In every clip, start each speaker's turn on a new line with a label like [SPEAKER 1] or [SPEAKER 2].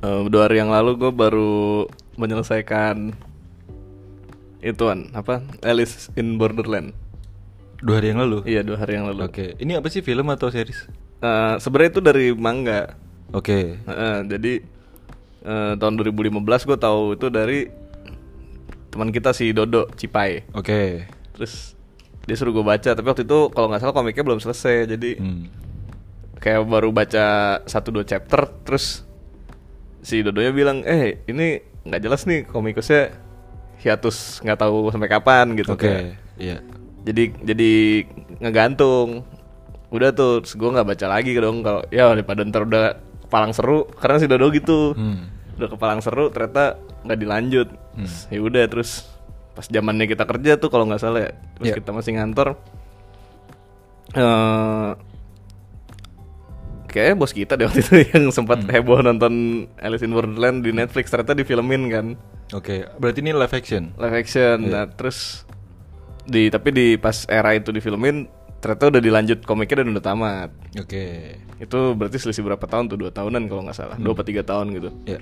[SPEAKER 1] Eh, dua hari yang lalu gue baru menyelesaikan ituan apa Alice in Borderland.
[SPEAKER 2] Dua hari yang lalu.
[SPEAKER 1] Iya dua hari yang lalu.
[SPEAKER 2] Oke. Ini apa sih film atau series?
[SPEAKER 1] Eh, Sebenarnya itu dari manga.
[SPEAKER 2] Oke.
[SPEAKER 1] Heeh, jadi eh, tahun 2015 gue tahu itu dari teman kita si Dodo Cipai.
[SPEAKER 2] Oke.
[SPEAKER 1] Terus dia suruh gue baca, tapi waktu itu kalau nggak salah komiknya belum selesai, jadi
[SPEAKER 2] Hmm.
[SPEAKER 1] kayak baru baca satu dua chapter terus si Dodonya bilang eh ini nggak jelas nih komikusnya hiatus nggak tahu sampai kapan gitu
[SPEAKER 2] Oke.
[SPEAKER 1] kayak.
[SPEAKER 2] Iya.
[SPEAKER 1] jadi jadi ngegantung udah tuh terus gue nggak baca lagi dong kalau ya daripada ntar udah kepalang seru karena si Dodo gitu
[SPEAKER 2] Hmm.
[SPEAKER 1] udah kepalang seru ternyata nggak dilanjut ya udah terus pas zamannya kita kerja tuh kalau nggak salah ya terus
[SPEAKER 2] Iya.
[SPEAKER 1] kita masih ngantor eh kayaknya bos kita deh waktu itu yang sempat heboh nonton Alice in Wonderland di Netflix ternyata difilmin kan
[SPEAKER 2] Oke. Berarti ini live action.
[SPEAKER 1] live action nah terus di tapi di pas era itu difilmin ternyata udah dilanjut komiknya dan udah tamat
[SPEAKER 2] Oke.
[SPEAKER 1] itu berarti selisih berapa tahun tuh dua tahunan kalau nggak salah dua apa tiga tahun gitu
[SPEAKER 2] Ya.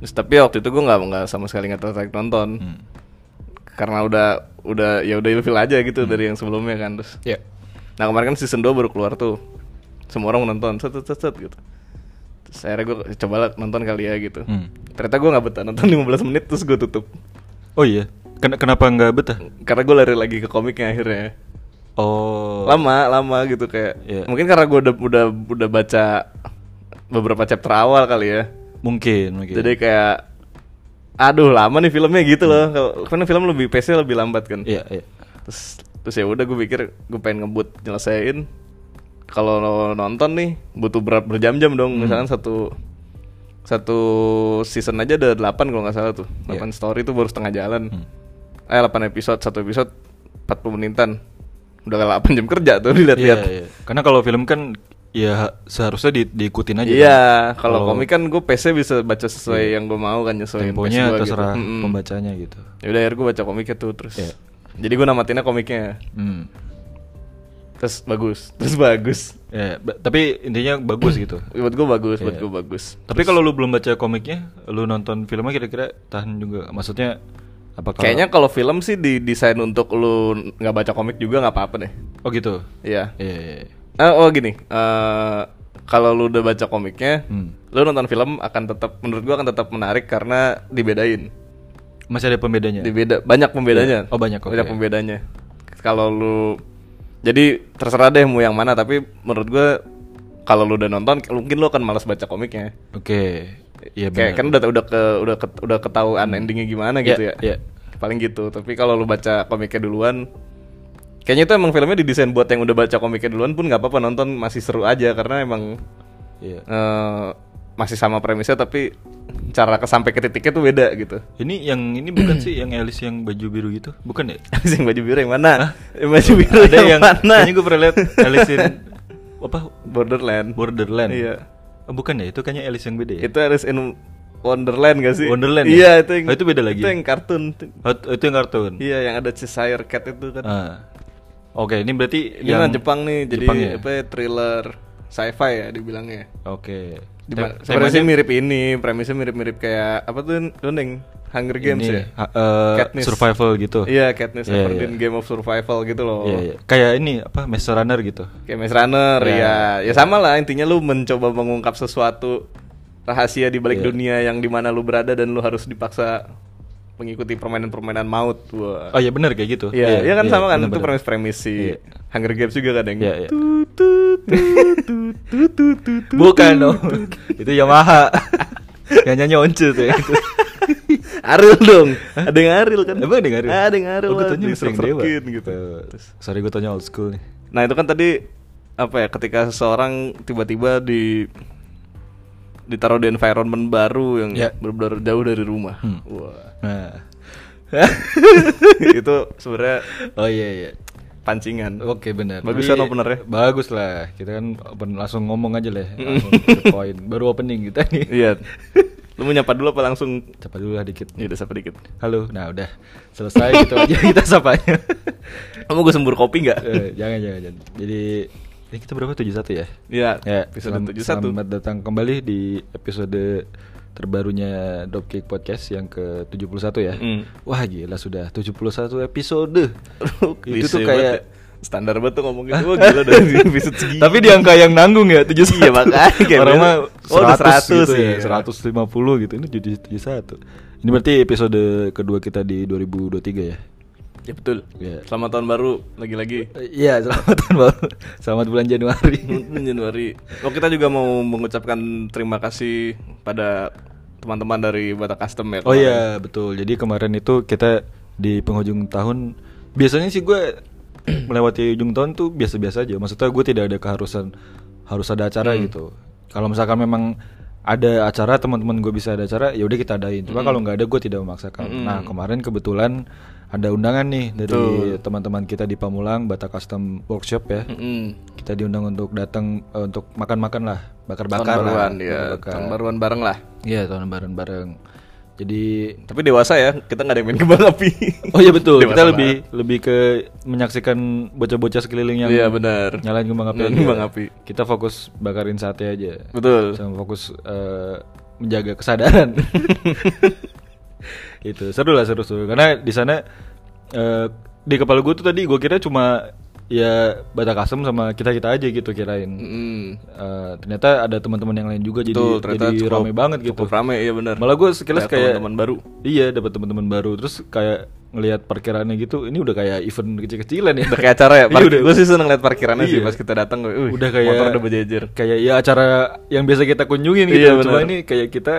[SPEAKER 1] Terus tapi waktu itu gue nggak nggak sama sekali nggak tertarik nonton
[SPEAKER 2] Hmm.
[SPEAKER 1] karena udah udah ya udah ilfil aja gitu
[SPEAKER 2] Hmm.
[SPEAKER 1] dari yang sebelumnya kan terus.
[SPEAKER 2] Ya.
[SPEAKER 1] Nah kemarin kan season 2 baru keluar tuh semua orang menonton set set set, set gitu. Terus akhirnya gue coba nonton kali ya gitu.
[SPEAKER 2] Hmm.
[SPEAKER 1] Ternyata gue nggak betah nonton 15 menit terus gue tutup
[SPEAKER 2] Oh iya. Ken- kenapa nggak betah?
[SPEAKER 1] karena gue lari lagi ke komiknya akhirnya.
[SPEAKER 2] Oh.
[SPEAKER 1] Lama lama gitu kayak
[SPEAKER 2] Iya.
[SPEAKER 1] mungkin karena gue udah udah udah baca beberapa chapter awal kali ya.
[SPEAKER 2] Mungkin. Mungkin.
[SPEAKER 1] Jadi kayak aduh lama nih filmnya gitu loh. Kalau karena film lebih pace lebih lambat kan.
[SPEAKER 2] Iya. Iya.
[SPEAKER 1] Terus terus ya udah gue pikir gue pengen ngebut nyelesain. Kalau lo nonton nih butuh berat berjam-jam
[SPEAKER 2] Hmm.
[SPEAKER 1] dong. Misalkan satu satu season aja ada 8 kalau nggak salah tuh.
[SPEAKER 2] Iya.
[SPEAKER 1] 8 story itu baru setengah jalan.
[SPEAKER 2] Hmm.
[SPEAKER 1] Eh 8 episode, satu episode 40 menitan. Udah 8 jam kerja tuh dilihat-lihat.
[SPEAKER 2] Iya, iya. Karena kalau film kan ya seharusnya di- diikutin aja.
[SPEAKER 1] Iya,
[SPEAKER 2] kan? Iya.
[SPEAKER 1] kalau komik kan gue PC bisa baca sesuai yang gue mau kan nyesuaiin pace
[SPEAKER 2] temponya
[SPEAKER 1] gua
[SPEAKER 2] terserah
[SPEAKER 1] gitu. Mm-mm.
[SPEAKER 2] pembacanya gitu.
[SPEAKER 1] Ya udah akhirnya gue baca komiknya tuh terus.
[SPEAKER 2] Iya.
[SPEAKER 1] Jadi gue namatinnya komiknya.
[SPEAKER 2] Hmm.
[SPEAKER 1] Terus bagus, terus bagus.
[SPEAKER 2] Ya, ba- tapi intinya bagus gitu.
[SPEAKER 1] Buat gue bagus, buat
[SPEAKER 2] Iya.
[SPEAKER 1] gue bagus.
[SPEAKER 2] Tapi kalau lu belum baca komiknya, lu nonton filmnya kira-kira tahan juga. Maksudnya apakah
[SPEAKER 1] Kayaknya kalau film sih didesain untuk lu nggak baca komik juga nggak apa-apa deh.
[SPEAKER 2] Oh gitu.
[SPEAKER 1] Iya.
[SPEAKER 2] Iya, iya, iya.
[SPEAKER 1] Eh, oh gini, eh, kalau lu udah baca komiknya,
[SPEAKER 2] Hmm.
[SPEAKER 1] lu nonton film akan tetap menurut gua akan tetap menarik karena dibedain.
[SPEAKER 2] Masih ada pembedanya.
[SPEAKER 1] Dibeda banyak pembedanya.
[SPEAKER 2] Iya. Oh, banyak, oke.
[SPEAKER 1] Banyak pembedanya. Kalau lu jadi terserah deh mau yang mana tapi menurut gua kalau lu udah nonton mungkin lu akan malas baca komiknya.
[SPEAKER 2] Oke. Iya
[SPEAKER 1] Kayak
[SPEAKER 2] benar.
[SPEAKER 1] kan udah udah ke udah ke, udah ketahuan endingnya gimana gitu
[SPEAKER 2] Iya,
[SPEAKER 1] ya.
[SPEAKER 2] iya.
[SPEAKER 1] Paling gitu. Tapi kalau lu baca komiknya duluan kayaknya itu emang filmnya didesain buat yang udah baca komiknya duluan pun nggak apa-apa nonton masih seru aja karena emang
[SPEAKER 2] Iya.
[SPEAKER 1] eh, masih sama premisnya tapi cara ke sampai ke titiknya tuh beda gitu.
[SPEAKER 2] Ini yang ini bukan sih yang Alice yang baju biru gitu? Bukan ya?
[SPEAKER 1] Yang baju biru yang mana? Yang baju biru
[SPEAKER 2] ada yang
[SPEAKER 1] mana?
[SPEAKER 2] kayaknya gue pernah lihat Alice in apa
[SPEAKER 1] Borderland.
[SPEAKER 2] Borderland.
[SPEAKER 1] Iya.
[SPEAKER 2] Oh, bukan ya, itu kayaknya Alice yang beda ya.
[SPEAKER 1] Itu harus in Wonderland gak sih?
[SPEAKER 2] Wonderland
[SPEAKER 1] Iya,
[SPEAKER 2] ya?
[SPEAKER 1] itu yang
[SPEAKER 2] Oh, itu beda lagi.
[SPEAKER 1] Itu yang kartun.
[SPEAKER 2] Oh, itu- itu yang kartun.
[SPEAKER 1] Iya, yang ada Cheshire Cat itu kan.
[SPEAKER 2] Ah. Oke, ini berarti
[SPEAKER 1] Ini
[SPEAKER 2] yang
[SPEAKER 1] kan Jepang nih, jadi
[SPEAKER 2] Jepang ya?
[SPEAKER 1] apa ya, thriller sci-fi ya dibilangnya.
[SPEAKER 2] Oke.
[SPEAKER 1] Di
[SPEAKER 2] Tem-
[SPEAKER 1] ma- sebenarnya sih mirip ini, premisnya mirip-mirip kayak apa tuh Dunning Hunger Games
[SPEAKER 2] ini,
[SPEAKER 1] ya?
[SPEAKER 2] ha- eh,
[SPEAKER 1] Katniss.
[SPEAKER 2] survival gitu.
[SPEAKER 1] Iya, Katniss
[SPEAKER 2] Iya,
[SPEAKER 1] Everdeen Game of Survival gitu loh.
[SPEAKER 2] Iya, iya. Kayak ini apa Maze Runner gitu.
[SPEAKER 1] Kayak Maze Runner
[SPEAKER 2] Iya.
[SPEAKER 1] ya. Ya sama lah intinya lu mencoba mengungkap sesuatu rahasia di
[SPEAKER 2] Iya.
[SPEAKER 1] balik dunia yang dimana lu berada dan lu harus dipaksa mengikuti permainan-permainan maut. Wah.
[SPEAKER 2] Oh iya benar kayak gitu.
[SPEAKER 1] Iya, iya kan sama kan itu
[SPEAKER 2] benar-benar.
[SPEAKER 1] premis-premis si
[SPEAKER 2] Iya.
[SPEAKER 1] Hunger Games juga kan yang
[SPEAKER 2] Iya, iya.
[SPEAKER 1] tut, tut, tut, tut, tut, tut, tut, tut.
[SPEAKER 2] Bukan dong. itu Yamaha. yang nyanyi once tuh ya. Gitu.
[SPEAKER 1] Ariel dong. Ada yang Ariel kan?
[SPEAKER 2] Emang ada yang Ariel?
[SPEAKER 1] Ada yang Ariel.
[SPEAKER 2] Eh, Oh, gue
[SPEAKER 1] lah,
[SPEAKER 2] tanya yang Dewa.
[SPEAKER 1] diserek-serekin gitu.
[SPEAKER 2] Eh, sorry gue tanya old school nih.
[SPEAKER 1] Nah, itu kan tadi apa ya ketika seseorang tiba-tiba di ditaruh di environment baru yang
[SPEAKER 2] Iya.
[SPEAKER 1] benar-benar jauh dari rumah.
[SPEAKER 2] Hmm.
[SPEAKER 1] Wah.
[SPEAKER 2] Nah.
[SPEAKER 1] itu sebenarnya
[SPEAKER 2] Oh iya iya.
[SPEAKER 1] pancingan.
[SPEAKER 2] Oke benar.
[SPEAKER 1] Bagus
[SPEAKER 2] Tapi-
[SPEAKER 1] kan openernya?
[SPEAKER 2] Bagus lah. Kita kan open, langsung ngomong aja lah. Langsung to the point. Baru opening kita nih.
[SPEAKER 1] Iya. Lu mau nyapa dulu apa langsung?
[SPEAKER 2] Cepat dulu lah dikit.
[SPEAKER 1] Ya udah sapa dikit.
[SPEAKER 2] Halo. Nah udah selesai gitu aja kita sapanya.
[SPEAKER 1] Kamu gue sembur kopi nggak?
[SPEAKER 2] Eh, jangan jangan jangan. Jadi Ini kita berapa? 71 ya?
[SPEAKER 1] Iya,
[SPEAKER 2] Ya,
[SPEAKER 1] episode
[SPEAKER 2] selam-
[SPEAKER 1] 71.
[SPEAKER 2] Selamat datang kembali di episode terbarunya Dropkick Podcast yang ke-71 ya.
[SPEAKER 1] Hmm.
[SPEAKER 2] Wah, gila sudah 71 episode. itu
[SPEAKER 1] Klise banget
[SPEAKER 2] tuh kayak
[SPEAKER 1] ya. standar banget tuh ngomong gitu. Wah, gila dari episode segini.
[SPEAKER 2] Tapi di angka yang nanggung ya 71
[SPEAKER 1] Iya, makanya kayak
[SPEAKER 2] Orang mah
[SPEAKER 1] biasa. Oh, udah 100
[SPEAKER 2] 100, gitu
[SPEAKER 1] ya.
[SPEAKER 2] ya 150 gitu Ini jadi 71 Ini berarti episode kedua kita di 2023 ya
[SPEAKER 1] Ya betul.
[SPEAKER 2] Iya.
[SPEAKER 1] Selamat tahun baru lagi-lagi.
[SPEAKER 2] Eh, Iya selamat tahun baru Selamat bulan Januari
[SPEAKER 1] Hmm, Januari. Oh, kita juga mau mengucapkan terima kasih pada teman-teman dari Batak Custom ya.
[SPEAKER 2] Oh
[SPEAKER 1] kemarin.
[SPEAKER 2] iya betul jadi kemarin itu kita di penghujung tahun Biasanya sih gue melewati ujung tahun tuh biasa-biasa aja Maksudnya gue tidak ada keharusan harus
[SPEAKER 1] Hmm.
[SPEAKER 2] ada acara gitu Kalau misalkan memang ada acara teman-teman gue bisa ada acara ya udah kita adain cuma
[SPEAKER 1] Hmm.
[SPEAKER 2] kalau nggak ada gue tidak memaksakan nah kemarin kebetulan ada undangan nih dari teman-teman kita di Pamulang Batak Custom Workshop ya
[SPEAKER 1] Mm-mm.
[SPEAKER 2] kita diundang untuk datang eh, untuk makan-makan lah
[SPEAKER 1] Tahun
[SPEAKER 2] bakar-bakar lah
[SPEAKER 1] baruan ya.
[SPEAKER 2] bakar-bakar.
[SPEAKER 1] Tahun baruan bareng lah.
[SPEAKER 2] Iya tahun bareng-bareng jadi
[SPEAKER 1] Tapi dewasa ya, kita nggak ada yang main kembang api.
[SPEAKER 2] Oh iya betul,
[SPEAKER 1] Dewasa
[SPEAKER 2] kita lebih lebih ke menyaksikan bocah-bocah sekeliling yang
[SPEAKER 1] Iya, benar.
[SPEAKER 2] nyalain kembang api.
[SPEAKER 1] Nyalain
[SPEAKER 2] aja. ya?
[SPEAKER 1] kembang api.
[SPEAKER 2] Kita fokus bakarin sate aja.
[SPEAKER 1] Betul.
[SPEAKER 2] Sama fokus eh, menjaga kesadaran. Itu seru lah seru seru karena di sana eh, di kepala gue tuh tadi gue kira cuma ya Batak Asem sama kita kita aja gitu kirain.
[SPEAKER 1] Mm.
[SPEAKER 2] Eh, ternyata ada teman-teman yang lain juga jadi
[SPEAKER 1] Betul, ternyata
[SPEAKER 2] jadi
[SPEAKER 1] cukup-
[SPEAKER 2] rame banget gitu.
[SPEAKER 1] cukup rame, iya benar.
[SPEAKER 2] Malah gue sekilas
[SPEAKER 1] Kayak
[SPEAKER 2] kayak
[SPEAKER 1] teman-teman baru.
[SPEAKER 2] Iya, dapat teman-teman baru. Terus kayak ngelihat parkirannya gitu, ini udah kayak event kecil-kecilan ya.
[SPEAKER 1] Udah kayak acara ya.
[SPEAKER 2] Iya,
[SPEAKER 1] Park,
[SPEAKER 2] udah.
[SPEAKER 1] gue sih seneng liat parkirannya sih
[SPEAKER 2] Iya.
[SPEAKER 1] pas kita datang. gue, "Wih,
[SPEAKER 2] udah kayak
[SPEAKER 1] motor udah berjejer.
[SPEAKER 2] Kayak ya acara yang biasa kita kunjungin gitu.
[SPEAKER 1] Iya,
[SPEAKER 2] cuma
[SPEAKER 1] benar.
[SPEAKER 2] ini kayak kita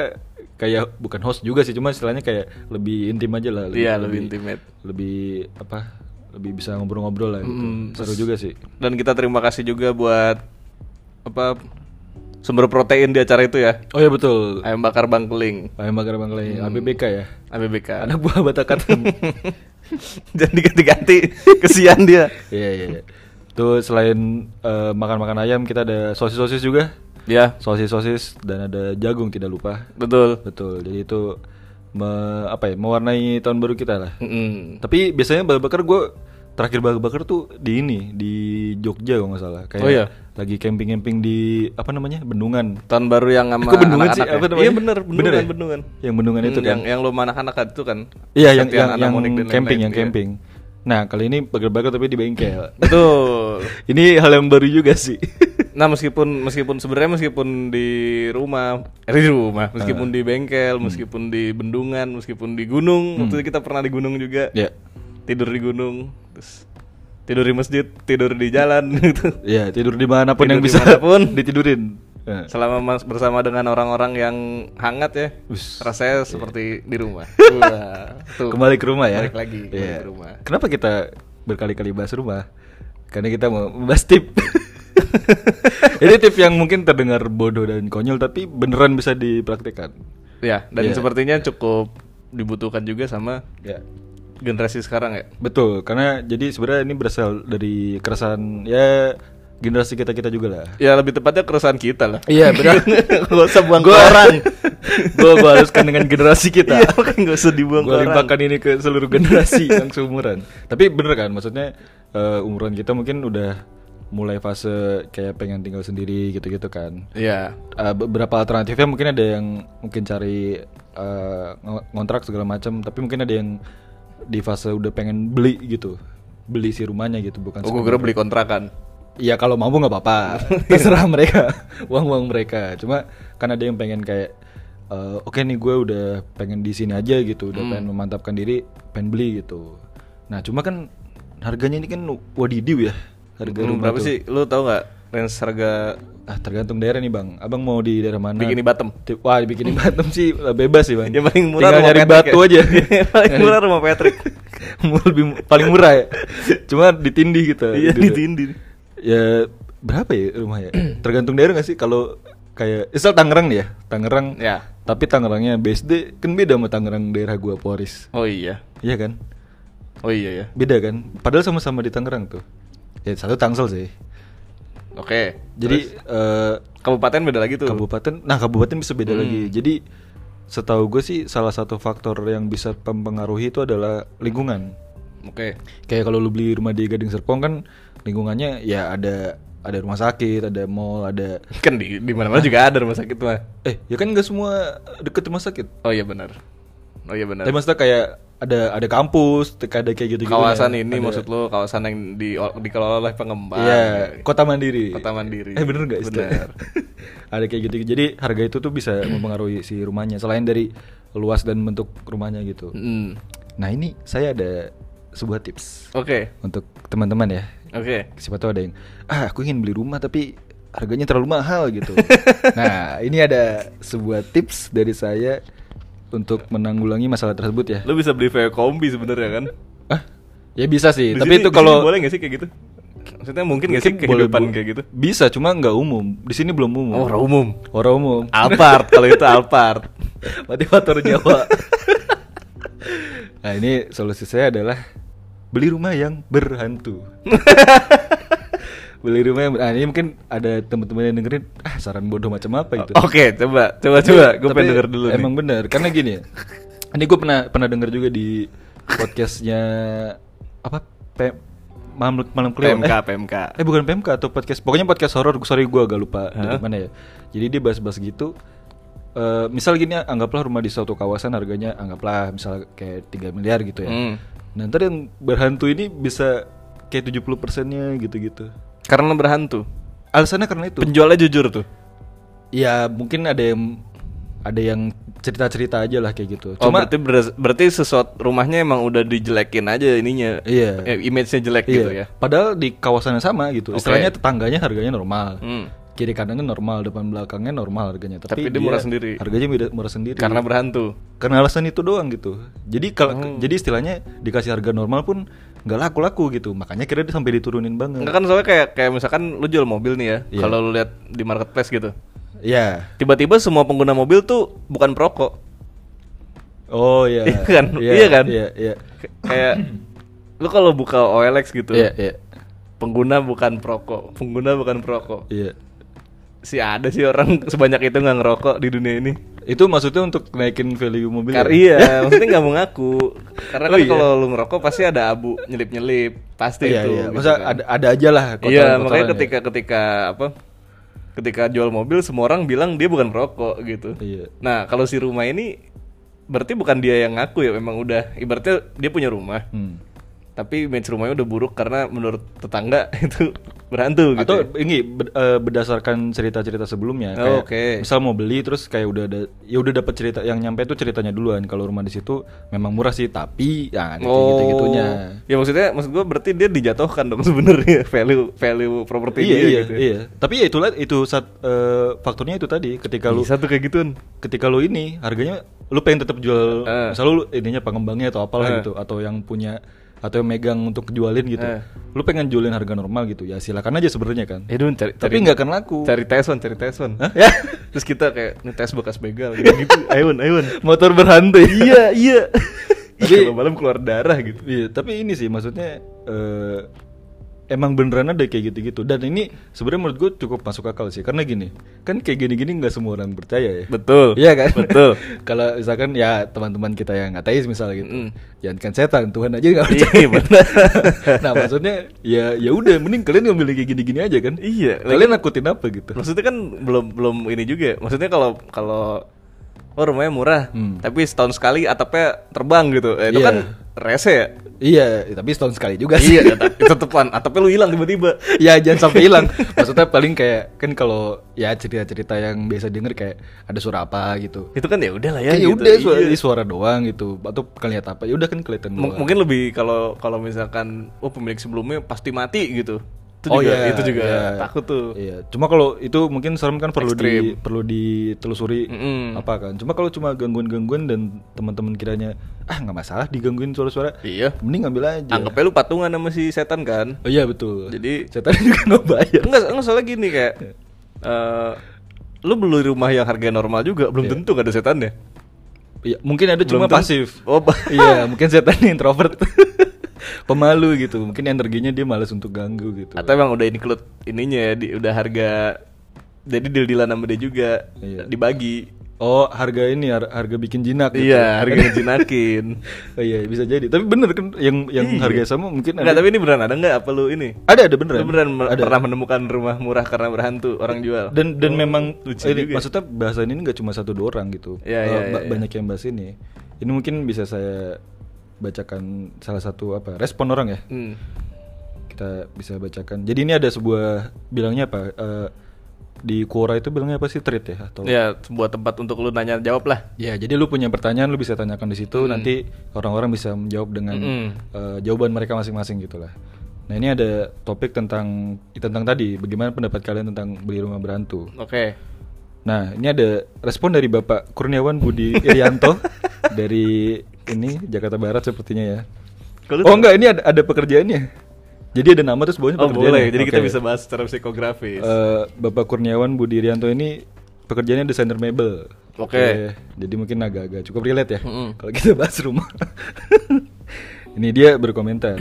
[SPEAKER 2] kayak bukan host juga sih, cuma istilahnya kayak lebih intim aja lah.
[SPEAKER 1] Iya, lebih intimate.
[SPEAKER 2] Lebih apa? Lebih bisa ngobrol-ngobrol lah gitu.
[SPEAKER 1] Mm,
[SPEAKER 2] Seru juga sih.
[SPEAKER 1] Dan kita terima kasih juga buat apa sumber protein di acara itu ya.
[SPEAKER 2] Oh ya betul.
[SPEAKER 1] Ayam bakar Bangkeling,
[SPEAKER 2] Ayam bakar Bangkelai, ABBK ya.
[SPEAKER 1] ABBK.
[SPEAKER 2] Anak buah Batakatan.
[SPEAKER 1] Jangan diganti-ganti, kesian dia.
[SPEAKER 2] Iya iya iya. Tuh selain eh, makan-makan ayam kita ada sosis-sosis juga.
[SPEAKER 1] Ya,
[SPEAKER 2] Sosis-sosis dan ada jagung tidak lupa.
[SPEAKER 1] betul.
[SPEAKER 2] Betul. Jadi itu me- apa ya? mewarnai tahun baru kita lah.
[SPEAKER 1] Mm-mm.
[SPEAKER 2] Tapi biasanya bakar bakar gue terakhir bakar bakar tuh di ini di Jogja kalau nggak salah. Kayak
[SPEAKER 1] Oh, iya?
[SPEAKER 2] lagi camping-camping di apa namanya? Bendungan.
[SPEAKER 1] Tahun baru yang sama
[SPEAKER 2] Kok bendungan sih?
[SPEAKER 1] anak-anak ya?
[SPEAKER 2] Apa namanya?
[SPEAKER 1] Iya bener,
[SPEAKER 2] Bener
[SPEAKER 1] bendungan,
[SPEAKER 2] ya?
[SPEAKER 1] bendungan.
[SPEAKER 2] Yang bendungan itu
[SPEAKER 1] Hmm,
[SPEAKER 2] kan?
[SPEAKER 1] Yang, yang lo sama anak-anak itu kan?
[SPEAKER 2] Iya yang
[SPEAKER 1] Kesaktian
[SPEAKER 2] yang, yang
[SPEAKER 1] Anamonik dan
[SPEAKER 2] camping
[SPEAKER 1] lain-lain,
[SPEAKER 2] yang
[SPEAKER 1] iya.
[SPEAKER 2] camping. Nah, kali ini bakar bakar tapi di bengkel.
[SPEAKER 1] Betul.
[SPEAKER 2] ini hal yang baru juga sih.
[SPEAKER 1] Nah meskipun meskipun sebenarnya meskipun di rumah eh, di rumah meskipun di bengkel meskipun di bendungan meskipun di gunung waktu itu kita pernah di gunung juga
[SPEAKER 2] ya.
[SPEAKER 1] tidur di gunung terus tidur di masjid tidur di jalan gitu
[SPEAKER 2] Ya tidur dimanapun
[SPEAKER 1] Tidur
[SPEAKER 2] yang bisa
[SPEAKER 1] dimanapun.
[SPEAKER 2] ditidurin. Eh,
[SPEAKER 1] selama mas bersama dengan orang-orang yang hangat ya
[SPEAKER 2] Us.
[SPEAKER 1] rasanya seperti di rumah Wah, tuh.
[SPEAKER 2] Kembali ke rumah ya.
[SPEAKER 1] Balik lagi,
[SPEAKER 2] Iya.
[SPEAKER 1] balik ke rumah.
[SPEAKER 2] Kenapa kita berkali-kali bahas rumah? Karena kita mau bahas tip. Ini tip yang mungkin terdengar bodoh dan konyol tapi beneran bisa dipraktekkan.
[SPEAKER 1] ya dan
[SPEAKER 2] Iya.
[SPEAKER 1] sepertinya cukup dibutuhkan juga sama
[SPEAKER 2] Ya.
[SPEAKER 1] generasi sekarang ya
[SPEAKER 2] Betul, karena jadi sebenarnya ini berasal dari keresahan ya generasi kita kita juga lah.
[SPEAKER 1] ya lebih tepatnya keresahan kita lah
[SPEAKER 2] Iya benar.
[SPEAKER 1] gak usah buang ke
[SPEAKER 2] Gua-
[SPEAKER 1] orang
[SPEAKER 2] Gue haruskan dengan generasi kita.
[SPEAKER 1] iya makanya gak usah dibuang ke
[SPEAKER 2] Gua
[SPEAKER 1] orang
[SPEAKER 2] limpahkan ini ke seluruh generasi yang seumuran. Tapi bener kan, maksudnya eh, umuran kita mungkin udah mulai fase kayak pengen tinggal sendiri gitu-gitu kan.
[SPEAKER 1] Iya.
[SPEAKER 2] Eh, beberapa alternatifnya mungkin ada yang mungkin cari eh, ngo- ngontrak segala macam, tapi mungkin ada yang di fase udah pengen beli gitu, beli si rumahnya gitu, bukan?
[SPEAKER 1] Oh, gue kira beli kontrakan.
[SPEAKER 2] Iya kalau mampu nggak apa-apa,
[SPEAKER 1] Iya.
[SPEAKER 2] terserah mereka, uang-uang mereka. Cuma kan ada yang pengen kayak, eh, oke nih gue udah pengen di sini aja gitu,
[SPEAKER 1] Hmm.
[SPEAKER 2] udah pengen memantapkan diri, pengen beli gitu. Nah cuma kan harganya ini kan wadidiw ya, harga
[SPEAKER 1] Lu
[SPEAKER 2] rumah
[SPEAKER 1] Hmm, berapa
[SPEAKER 2] tuh.
[SPEAKER 1] sih? Lu tahu nggak range harga
[SPEAKER 2] Ah tergantung daerah nih bang, abang mau di daerah mana?
[SPEAKER 1] bikini bottom?
[SPEAKER 2] Tip- Wah di Bikini Bottom sih eh, bebas sih bang.
[SPEAKER 1] Yang paling murah
[SPEAKER 2] Tinggal
[SPEAKER 1] rumah
[SPEAKER 2] nyari
[SPEAKER 1] Patrick
[SPEAKER 2] batu
[SPEAKER 1] ya.
[SPEAKER 2] aja.
[SPEAKER 1] Yang paling murah rumah Patrick.
[SPEAKER 2] Mur- lebih mu- paling murah ya. Cuma ditindih gitu.
[SPEAKER 1] Iya
[SPEAKER 2] Gitu.
[SPEAKER 1] ditindih.
[SPEAKER 2] Ya berapa ya rumahnya? Tergantung daerah gak sih kalau kayak misal Tangerang nih ya, Tangerang.
[SPEAKER 1] Ya.
[SPEAKER 2] Tapi Tangerangnya BSD kan beda sama Tangerang daerah gua Poris.
[SPEAKER 1] Oh iya.
[SPEAKER 2] Iya kan?
[SPEAKER 1] Oh iya ya.
[SPEAKER 2] Beda kan? Padahal sama-sama di Tangerang tuh. Ya satu Tangsel sih.
[SPEAKER 1] Oke.
[SPEAKER 2] Jadi eh,
[SPEAKER 1] Kabupaten beda lagi tuh.
[SPEAKER 2] kabupaten nah kabupaten bisa beda lagi jadi setahu gue sih salah satu faktor yang bisa mempengaruhi itu adalah lingkungan
[SPEAKER 1] Oke.
[SPEAKER 2] kayak kalau lu beli rumah di Gading Serpong kan lingkungannya ya ada ada rumah sakit, ada mall, ada
[SPEAKER 1] kan di di mana-mana juga ada rumah sakit mah.
[SPEAKER 2] eh ya kan nggak semua deket rumah sakit.
[SPEAKER 1] Oh iya benar. Oh iya benar.
[SPEAKER 2] Tapi maksudnya kayak ada ada kampus, tek- ada kayak gitu gitu.
[SPEAKER 1] Kawasan ini maksud lo kawasan yang di dikelola oleh pengembang.
[SPEAKER 2] Iya, kota mandiri.
[SPEAKER 1] Kota Mandiri.
[SPEAKER 2] Eh bener nggak istilah?
[SPEAKER 1] Bener.
[SPEAKER 2] ada kayak gitu. Jadi harga itu tuh bisa mempengaruhi si rumahnya. Selain dari luas dan bentuk rumahnya gitu.
[SPEAKER 1] Mm.
[SPEAKER 2] Nah ini saya ada sebuah tips
[SPEAKER 1] Oke.
[SPEAKER 2] untuk teman-teman ya.
[SPEAKER 1] Oke.
[SPEAKER 2] Siapa tahu ada yang ah aku ingin beli rumah tapi harganya terlalu mahal gitu. nah ini ada sebuah tips dari saya untuk menanggulangi masalah tersebut ya.
[SPEAKER 1] Lo bisa beli VW kombi sebenarnya kan?
[SPEAKER 2] Ah, ya bisa sih.
[SPEAKER 1] Di
[SPEAKER 2] tapi
[SPEAKER 1] sini-
[SPEAKER 2] itu
[SPEAKER 1] di sini
[SPEAKER 2] kalau
[SPEAKER 1] boleh gak sih kayak gitu? Maksudnya mungkin gak sih
[SPEAKER 2] mungkin boleh-
[SPEAKER 1] kehidupan kayak gitu?
[SPEAKER 2] Bisa, cuma nggak umum. Di sini belum umum.
[SPEAKER 1] Oh, orang umum.
[SPEAKER 2] Orang umum.
[SPEAKER 1] Alphard kalau itu Alphard.
[SPEAKER 2] Motivator Jawa. nah, ini solusi saya adalah beli rumah yang berhantu. beli rumah yang ber- nah, ini mungkin ada teman-teman yang dengerin ah saran bodoh macam apa itu.
[SPEAKER 1] Oke, coba coba Oh, coba gue
[SPEAKER 2] Tapi
[SPEAKER 1] pengen denger dulu
[SPEAKER 2] Emang
[SPEAKER 1] nih.
[SPEAKER 2] bener, karena gini. Ini gue pernah pernah denger juga di podcastnya apa? P Mamluk Malam Kliwon.
[SPEAKER 1] PMK,
[SPEAKER 2] Eh,
[SPEAKER 1] PMK.
[SPEAKER 2] Eh bukan PMK atau podcast. Pokoknya podcast horor. Sorry gue agak lupa dari
[SPEAKER 1] Hah?
[SPEAKER 2] mana ya. Jadi dia bahas-bahas gitu. Eh, misal gini anggaplah rumah di suatu kawasan harganya anggaplah misal kayak 3 miliar gitu ya.
[SPEAKER 1] Hmm.
[SPEAKER 2] Nah ntar yang berhantu ini bisa kayak 70 persennya gitu-gitu.
[SPEAKER 1] Karena berhantu.
[SPEAKER 2] Alasannya karena itu.
[SPEAKER 1] Penjualnya jujur tuh.
[SPEAKER 2] ya mungkin ada yang ada yang cerita-cerita aja lah kayak gitu.
[SPEAKER 1] Oh,
[SPEAKER 2] Cuma
[SPEAKER 1] berarti beras- berarti sesuatu rumahnya emang udah dijelekin aja ininya.
[SPEAKER 2] Iya.
[SPEAKER 1] Eh, image-nya jelek
[SPEAKER 2] iya,
[SPEAKER 1] gitu ya.
[SPEAKER 2] Padahal di kawasan yang sama gitu.
[SPEAKER 1] Oke.
[SPEAKER 2] Istilahnya tetangganya harganya normal.
[SPEAKER 1] Hmm.
[SPEAKER 2] kiri kanannya normal depan belakangnya normal harganya tapi,
[SPEAKER 1] Tapi dia murah sendiri.
[SPEAKER 2] harganya beda- murah sendiri
[SPEAKER 1] Karena berhantu.
[SPEAKER 2] karena alasan itu doang gitu jadi kalau
[SPEAKER 1] Hmm.
[SPEAKER 2] jadi istilahnya dikasih harga normal pun nggak laku laku gitu makanya kira dia sampai diturunin banget
[SPEAKER 1] Enggak kan soalnya kayak kayak misalkan lu jual mobil nih ya.
[SPEAKER 2] Iya.
[SPEAKER 1] Kalau lu lihat di marketplace gitu.
[SPEAKER 2] ya
[SPEAKER 1] Tiba-tiba semua pengguna mobil tuh bukan perokok.
[SPEAKER 2] oh ya
[SPEAKER 1] Iya kan?
[SPEAKER 2] Iya,
[SPEAKER 1] Iya kan?
[SPEAKER 2] iya iya
[SPEAKER 1] Kay- Kayak lu kalau buka OLX gitu.
[SPEAKER 2] iya iya
[SPEAKER 1] Pengguna bukan perokok, pengguna bukan perokok.
[SPEAKER 2] iya
[SPEAKER 1] Si ada sih orang sebanyak itu nggak ngerokok di dunia ini.
[SPEAKER 2] itu maksudnya untuk naikin value mobil
[SPEAKER 1] Kar
[SPEAKER 2] ya?
[SPEAKER 1] iya, maksudnya nggak mau ngaku. Karena
[SPEAKER 2] Oh
[SPEAKER 1] kan
[SPEAKER 2] iya.
[SPEAKER 1] kalau lu ngerokok pasti ada abu nyelip-nyelip, pasti
[SPEAKER 2] iya
[SPEAKER 1] itu.
[SPEAKER 2] iya
[SPEAKER 1] gitu
[SPEAKER 2] masa
[SPEAKER 1] kan.
[SPEAKER 2] ada ada aja lah
[SPEAKER 1] Iya,
[SPEAKER 2] kotoran-kotoran
[SPEAKER 1] makanya
[SPEAKER 2] ya.
[SPEAKER 1] ketika ketika apa? Ketika jual mobil semua orang bilang dia bukan perokok gitu.
[SPEAKER 2] Iya.
[SPEAKER 1] Nah, kalau si rumah ini berarti bukan dia yang ngaku ya, memang udah ibaratnya dia punya rumah.
[SPEAKER 2] Hmm.
[SPEAKER 1] Tapi image rumahnya udah buruk karena menurut tetangga itu berhantu gitu.
[SPEAKER 2] atau
[SPEAKER 1] ya.
[SPEAKER 2] ini ber- eh, berdasarkan cerita-cerita sebelumnya
[SPEAKER 1] Oh,
[SPEAKER 2] kayak
[SPEAKER 1] oke.
[SPEAKER 2] misal mau beli terus kayak udah ada ya udah dapat cerita yang nyampe tuh ceritanya duluan kalau rumah di situ memang murah sih tapi ya ada kayak
[SPEAKER 1] Oh.
[SPEAKER 2] gitu-gitunya
[SPEAKER 1] Ya maksudnya maksud gua berarti dia dijatuhkan dong sebenarnya value value properti
[SPEAKER 2] iya
[SPEAKER 1] dia
[SPEAKER 2] iya
[SPEAKER 1] gitu.
[SPEAKER 2] iya tapi ya itulah itu saat eh, faktornya itu tadi ketika lu
[SPEAKER 1] Bisa tuh kayak gituan.
[SPEAKER 2] ketika lu ini harganya lu pengen tetap jual
[SPEAKER 1] Eh.
[SPEAKER 2] misal lu ininya pengembangnya atau apalah
[SPEAKER 1] Eh.
[SPEAKER 2] gitu atau yang punya atau yang megang untuk jualin gitu
[SPEAKER 1] Eh.
[SPEAKER 2] lu pengen jualin harga normal gitu ya silakan aja sebenarnya kan
[SPEAKER 1] Ya dun, cari,
[SPEAKER 2] tapi nggak akan laku
[SPEAKER 1] Cari Tyson, cari Tyson.
[SPEAKER 2] Hah?
[SPEAKER 1] Terus kita kayak ngetes bekas begal gitu. gitu. Ayun, ayun.
[SPEAKER 2] motor berhantu ya?
[SPEAKER 1] iya, iya.
[SPEAKER 2] Tapi-
[SPEAKER 1] Kalau malam keluar darah gitu.
[SPEAKER 2] Iya, tapi ini sih maksudnya eh, emang beneran ada kayak gitu-gitu. Dan ini sebenarnya menurut gue cukup masuk akal sih, karena gini, kan kayak gini-gini nggak semua orang percaya ya.
[SPEAKER 1] Betul.
[SPEAKER 2] Iya kan?
[SPEAKER 1] Betul.
[SPEAKER 2] Kalau misalkan ya teman-teman kita yang ateis misalnya gitu,
[SPEAKER 1] Mm.
[SPEAKER 2] jangan kan setan Tuhan aja
[SPEAKER 1] Iya,
[SPEAKER 2] nggak percaya.
[SPEAKER 1] benar.
[SPEAKER 2] nah maksudnya ya ya udah, mending kalian ngambil kayak gini-gini aja kan?
[SPEAKER 1] Iya,
[SPEAKER 2] Kalian nakutin apa gitu?
[SPEAKER 1] Maksudnya kan belum belum ini juga. ya. Maksudnya kalau kalau oh rumahnya murah,
[SPEAKER 2] Hmm.
[SPEAKER 1] tapi setahun sekali atapnya terbang gitu. Eh, itu
[SPEAKER 2] Iya.
[SPEAKER 1] kan rese ya.
[SPEAKER 2] Iya, tapi setahun sekali juga sih.
[SPEAKER 1] iya, tetepan. Atapnya lu hilang tiba-tiba.
[SPEAKER 2] ya jangan sampai hilang maksudnya paling kayak kan kalau ya cerita-cerita yang biasa denger kayak ada suara apa gitu
[SPEAKER 1] Itu kan ya udahlah ya.
[SPEAKER 2] ya
[SPEAKER 1] gitu.
[SPEAKER 2] udah suara,
[SPEAKER 1] Iya.
[SPEAKER 2] suara doang gitu atau kelihatan apa ya udah kan kelihatan
[SPEAKER 1] M-
[SPEAKER 2] doang.
[SPEAKER 1] mungkin lebih kalau kalau misalkan oh pemilik sebelumnya pasti mati gitu. Itu juga
[SPEAKER 2] iya,
[SPEAKER 1] itu juga
[SPEAKER 2] iya.
[SPEAKER 1] takut tuh.
[SPEAKER 2] Iya, cuma kalau itu mungkin serem kan perlu
[SPEAKER 1] Ekstrim.
[SPEAKER 2] di perlu ditelusuri
[SPEAKER 1] Mm-mm.
[SPEAKER 2] apa kan. Cuma kalau cuma gangguan-gangguan dan teman-teman kiranya ah nggak masalah digangguin suara-suara,
[SPEAKER 1] Iya.
[SPEAKER 2] mending ngambil aja.
[SPEAKER 1] Anggapnya lu patungan sama si setan kan?
[SPEAKER 2] Oh iya betul.
[SPEAKER 1] Jadi-
[SPEAKER 2] setan juga nggak bayar.
[SPEAKER 1] Enggak, enggak soalnya gini kayak eh lu beli rumah yang harga normal juga belum tentu gak ada setannya.
[SPEAKER 2] Iya, mungkin ada cuma
[SPEAKER 1] Belum tentu-
[SPEAKER 2] pasif.
[SPEAKER 1] Oh, pa-
[SPEAKER 2] iya, mungkin setan introvert. Pemalu gitu. Mungkin energinya dia malas untuk ganggu gitu.
[SPEAKER 1] Atau emang udah include ininya ya, di, udah harga jadi deal-dealan sama dia juga
[SPEAKER 2] Iya.
[SPEAKER 1] dibagi.
[SPEAKER 2] Oh, harga ini har- harga bikin jinak gitu.
[SPEAKER 1] Iya, harga ngejinakin.
[SPEAKER 2] Oh, iya, bisa jadi. Tapi bener kan yang yang harganya sama mungkin
[SPEAKER 1] Enggak,
[SPEAKER 2] ada.
[SPEAKER 1] Iya. tapi ini beneran ada enggak apa lu ini?
[SPEAKER 2] ada ada beneran.
[SPEAKER 1] Lu beneran mer-
[SPEAKER 2] ada.
[SPEAKER 1] pernah menemukan rumah murah karena berhantu orang jual?
[SPEAKER 2] Dan dan
[SPEAKER 1] Oh,
[SPEAKER 2] memang
[SPEAKER 1] lucu
[SPEAKER 2] ini,
[SPEAKER 1] juga.
[SPEAKER 2] maksudnya bahasa ini nggak cuma satu dua orang gitu.
[SPEAKER 1] Iya,
[SPEAKER 2] Eh,
[SPEAKER 1] iya,
[SPEAKER 2] ba-
[SPEAKER 1] iya.
[SPEAKER 2] Banyak yang bahas ini. Ini mungkin bisa saya bacakan salah satu apa respon orang ya.
[SPEAKER 1] Hmm.
[SPEAKER 2] kita bisa bacakan. Jadi ini ada sebuah bilangnya apa? eh, di Quora itu bilangnya apa sih treat ya atau?
[SPEAKER 1] Ya, sebuah tempat untuk lu nanya jawab lah.
[SPEAKER 2] Ya, jadi lu punya pertanyaan lu bisa tanyakan di
[SPEAKER 1] Hmm.
[SPEAKER 2] situ nanti orang-orang bisa menjawab dengan
[SPEAKER 1] Mm-mm.
[SPEAKER 2] eh, jawaban mereka masing-masing gitulah. Nah, ini ada topik tentang tentang tadi bagaimana pendapat kalian tentang beli rumah berhantu.
[SPEAKER 1] Oke.
[SPEAKER 2] Nah, ini ada respon dari Bapak Kurniawan Budi Irianto dari ini Jakarta Barat sepertinya ya.
[SPEAKER 1] Kalau
[SPEAKER 2] Oh enggak, ini ada, ada pekerjaannya. Jadi ada nama terus bawahnya
[SPEAKER 1] Oh,
[SPEAKER 2] pekerjaannya.
[SPEAKER 1] boleh. Jadi kita
[SPEAKER 2] Oke.
[SPEAKER 1] bisa bahas secara psikografis.
[SPEAKER 2] Eh, Bapak Kurniawan Budi Rianto ini pekerjaannya desainer mebel.
[SPEAKER 1] Oke.
[SPEAKER 2] Jadi mungkin agak-agak cukup relate ya
[SPEAKER 1] Mm-mm.
[SPEAKER 2] kalau kita bahas rumah. ini dia berkomentar.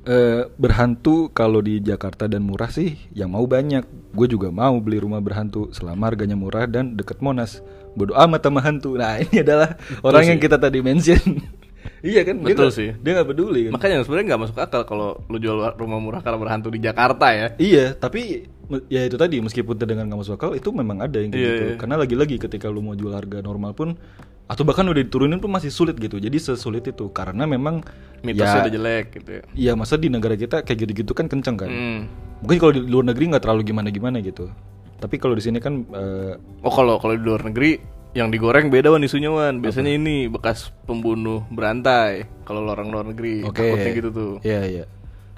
[SPEAKER 2] Eh, berhantu kalau di Jakarta dan murah sih yang mau banyak gue juga mau beli rumah berhantu selama harganya murah dan deket Monas bodoh amat sama hantu nah ini adalah orang yang kita tadi mention iya kan dia
[SPEAKER 1] Betul
[SPEAKER 2] nggak-
[SPEAKER 1] sih.
[SPEAKER 2] dia nggak peduli kan
[SPEAKER 1] Makanya sebenarnya nggak masuk akal kalau lu jual rumah murah karena berhantu di Jakarta ya.
[SPEAKER 2] Iya, tapi me- ya itu tadi meskipun terdengar nggak masuk akal itu memang ada yang kayak
[SPEAKER 1] Iya,
[SPEAKER 2] gitu.
[SPEAKER 1] iya.
[SPEAKER 2] Karena lagi-lagi ketika lu mau jual harga normal pun atau bahkan udah diturunin pun masih sulit gitu. Jadi sesulit itu karena memang
[SPEAKER 1] Mitosnya
[SPEAKER 2] ya,
[SPEAKER 1] udah jelek gitu ya.
[SPEAKER 2] Iya, masa di negara kita kayak gitu-gitu kan kenceng kan.
[SPEAKER 1] Hmm.
[SPEAKER 2] Mungkin kalau di luar negeri nggak terlalu gimana-gimana gitu. Tapi kalau di sini kan eh,
[SPEAKER 1] Oh kalau kalau di luar negeri yang digoreng beda wan isunya wan. Biasanya ini bekas pembunuh berantai kalau orang luar negeri
[SPEAKER 2] oke.
[SPEAKER 1] takutnya gitu tuh.
[SPEAKER 2] Iya, iya.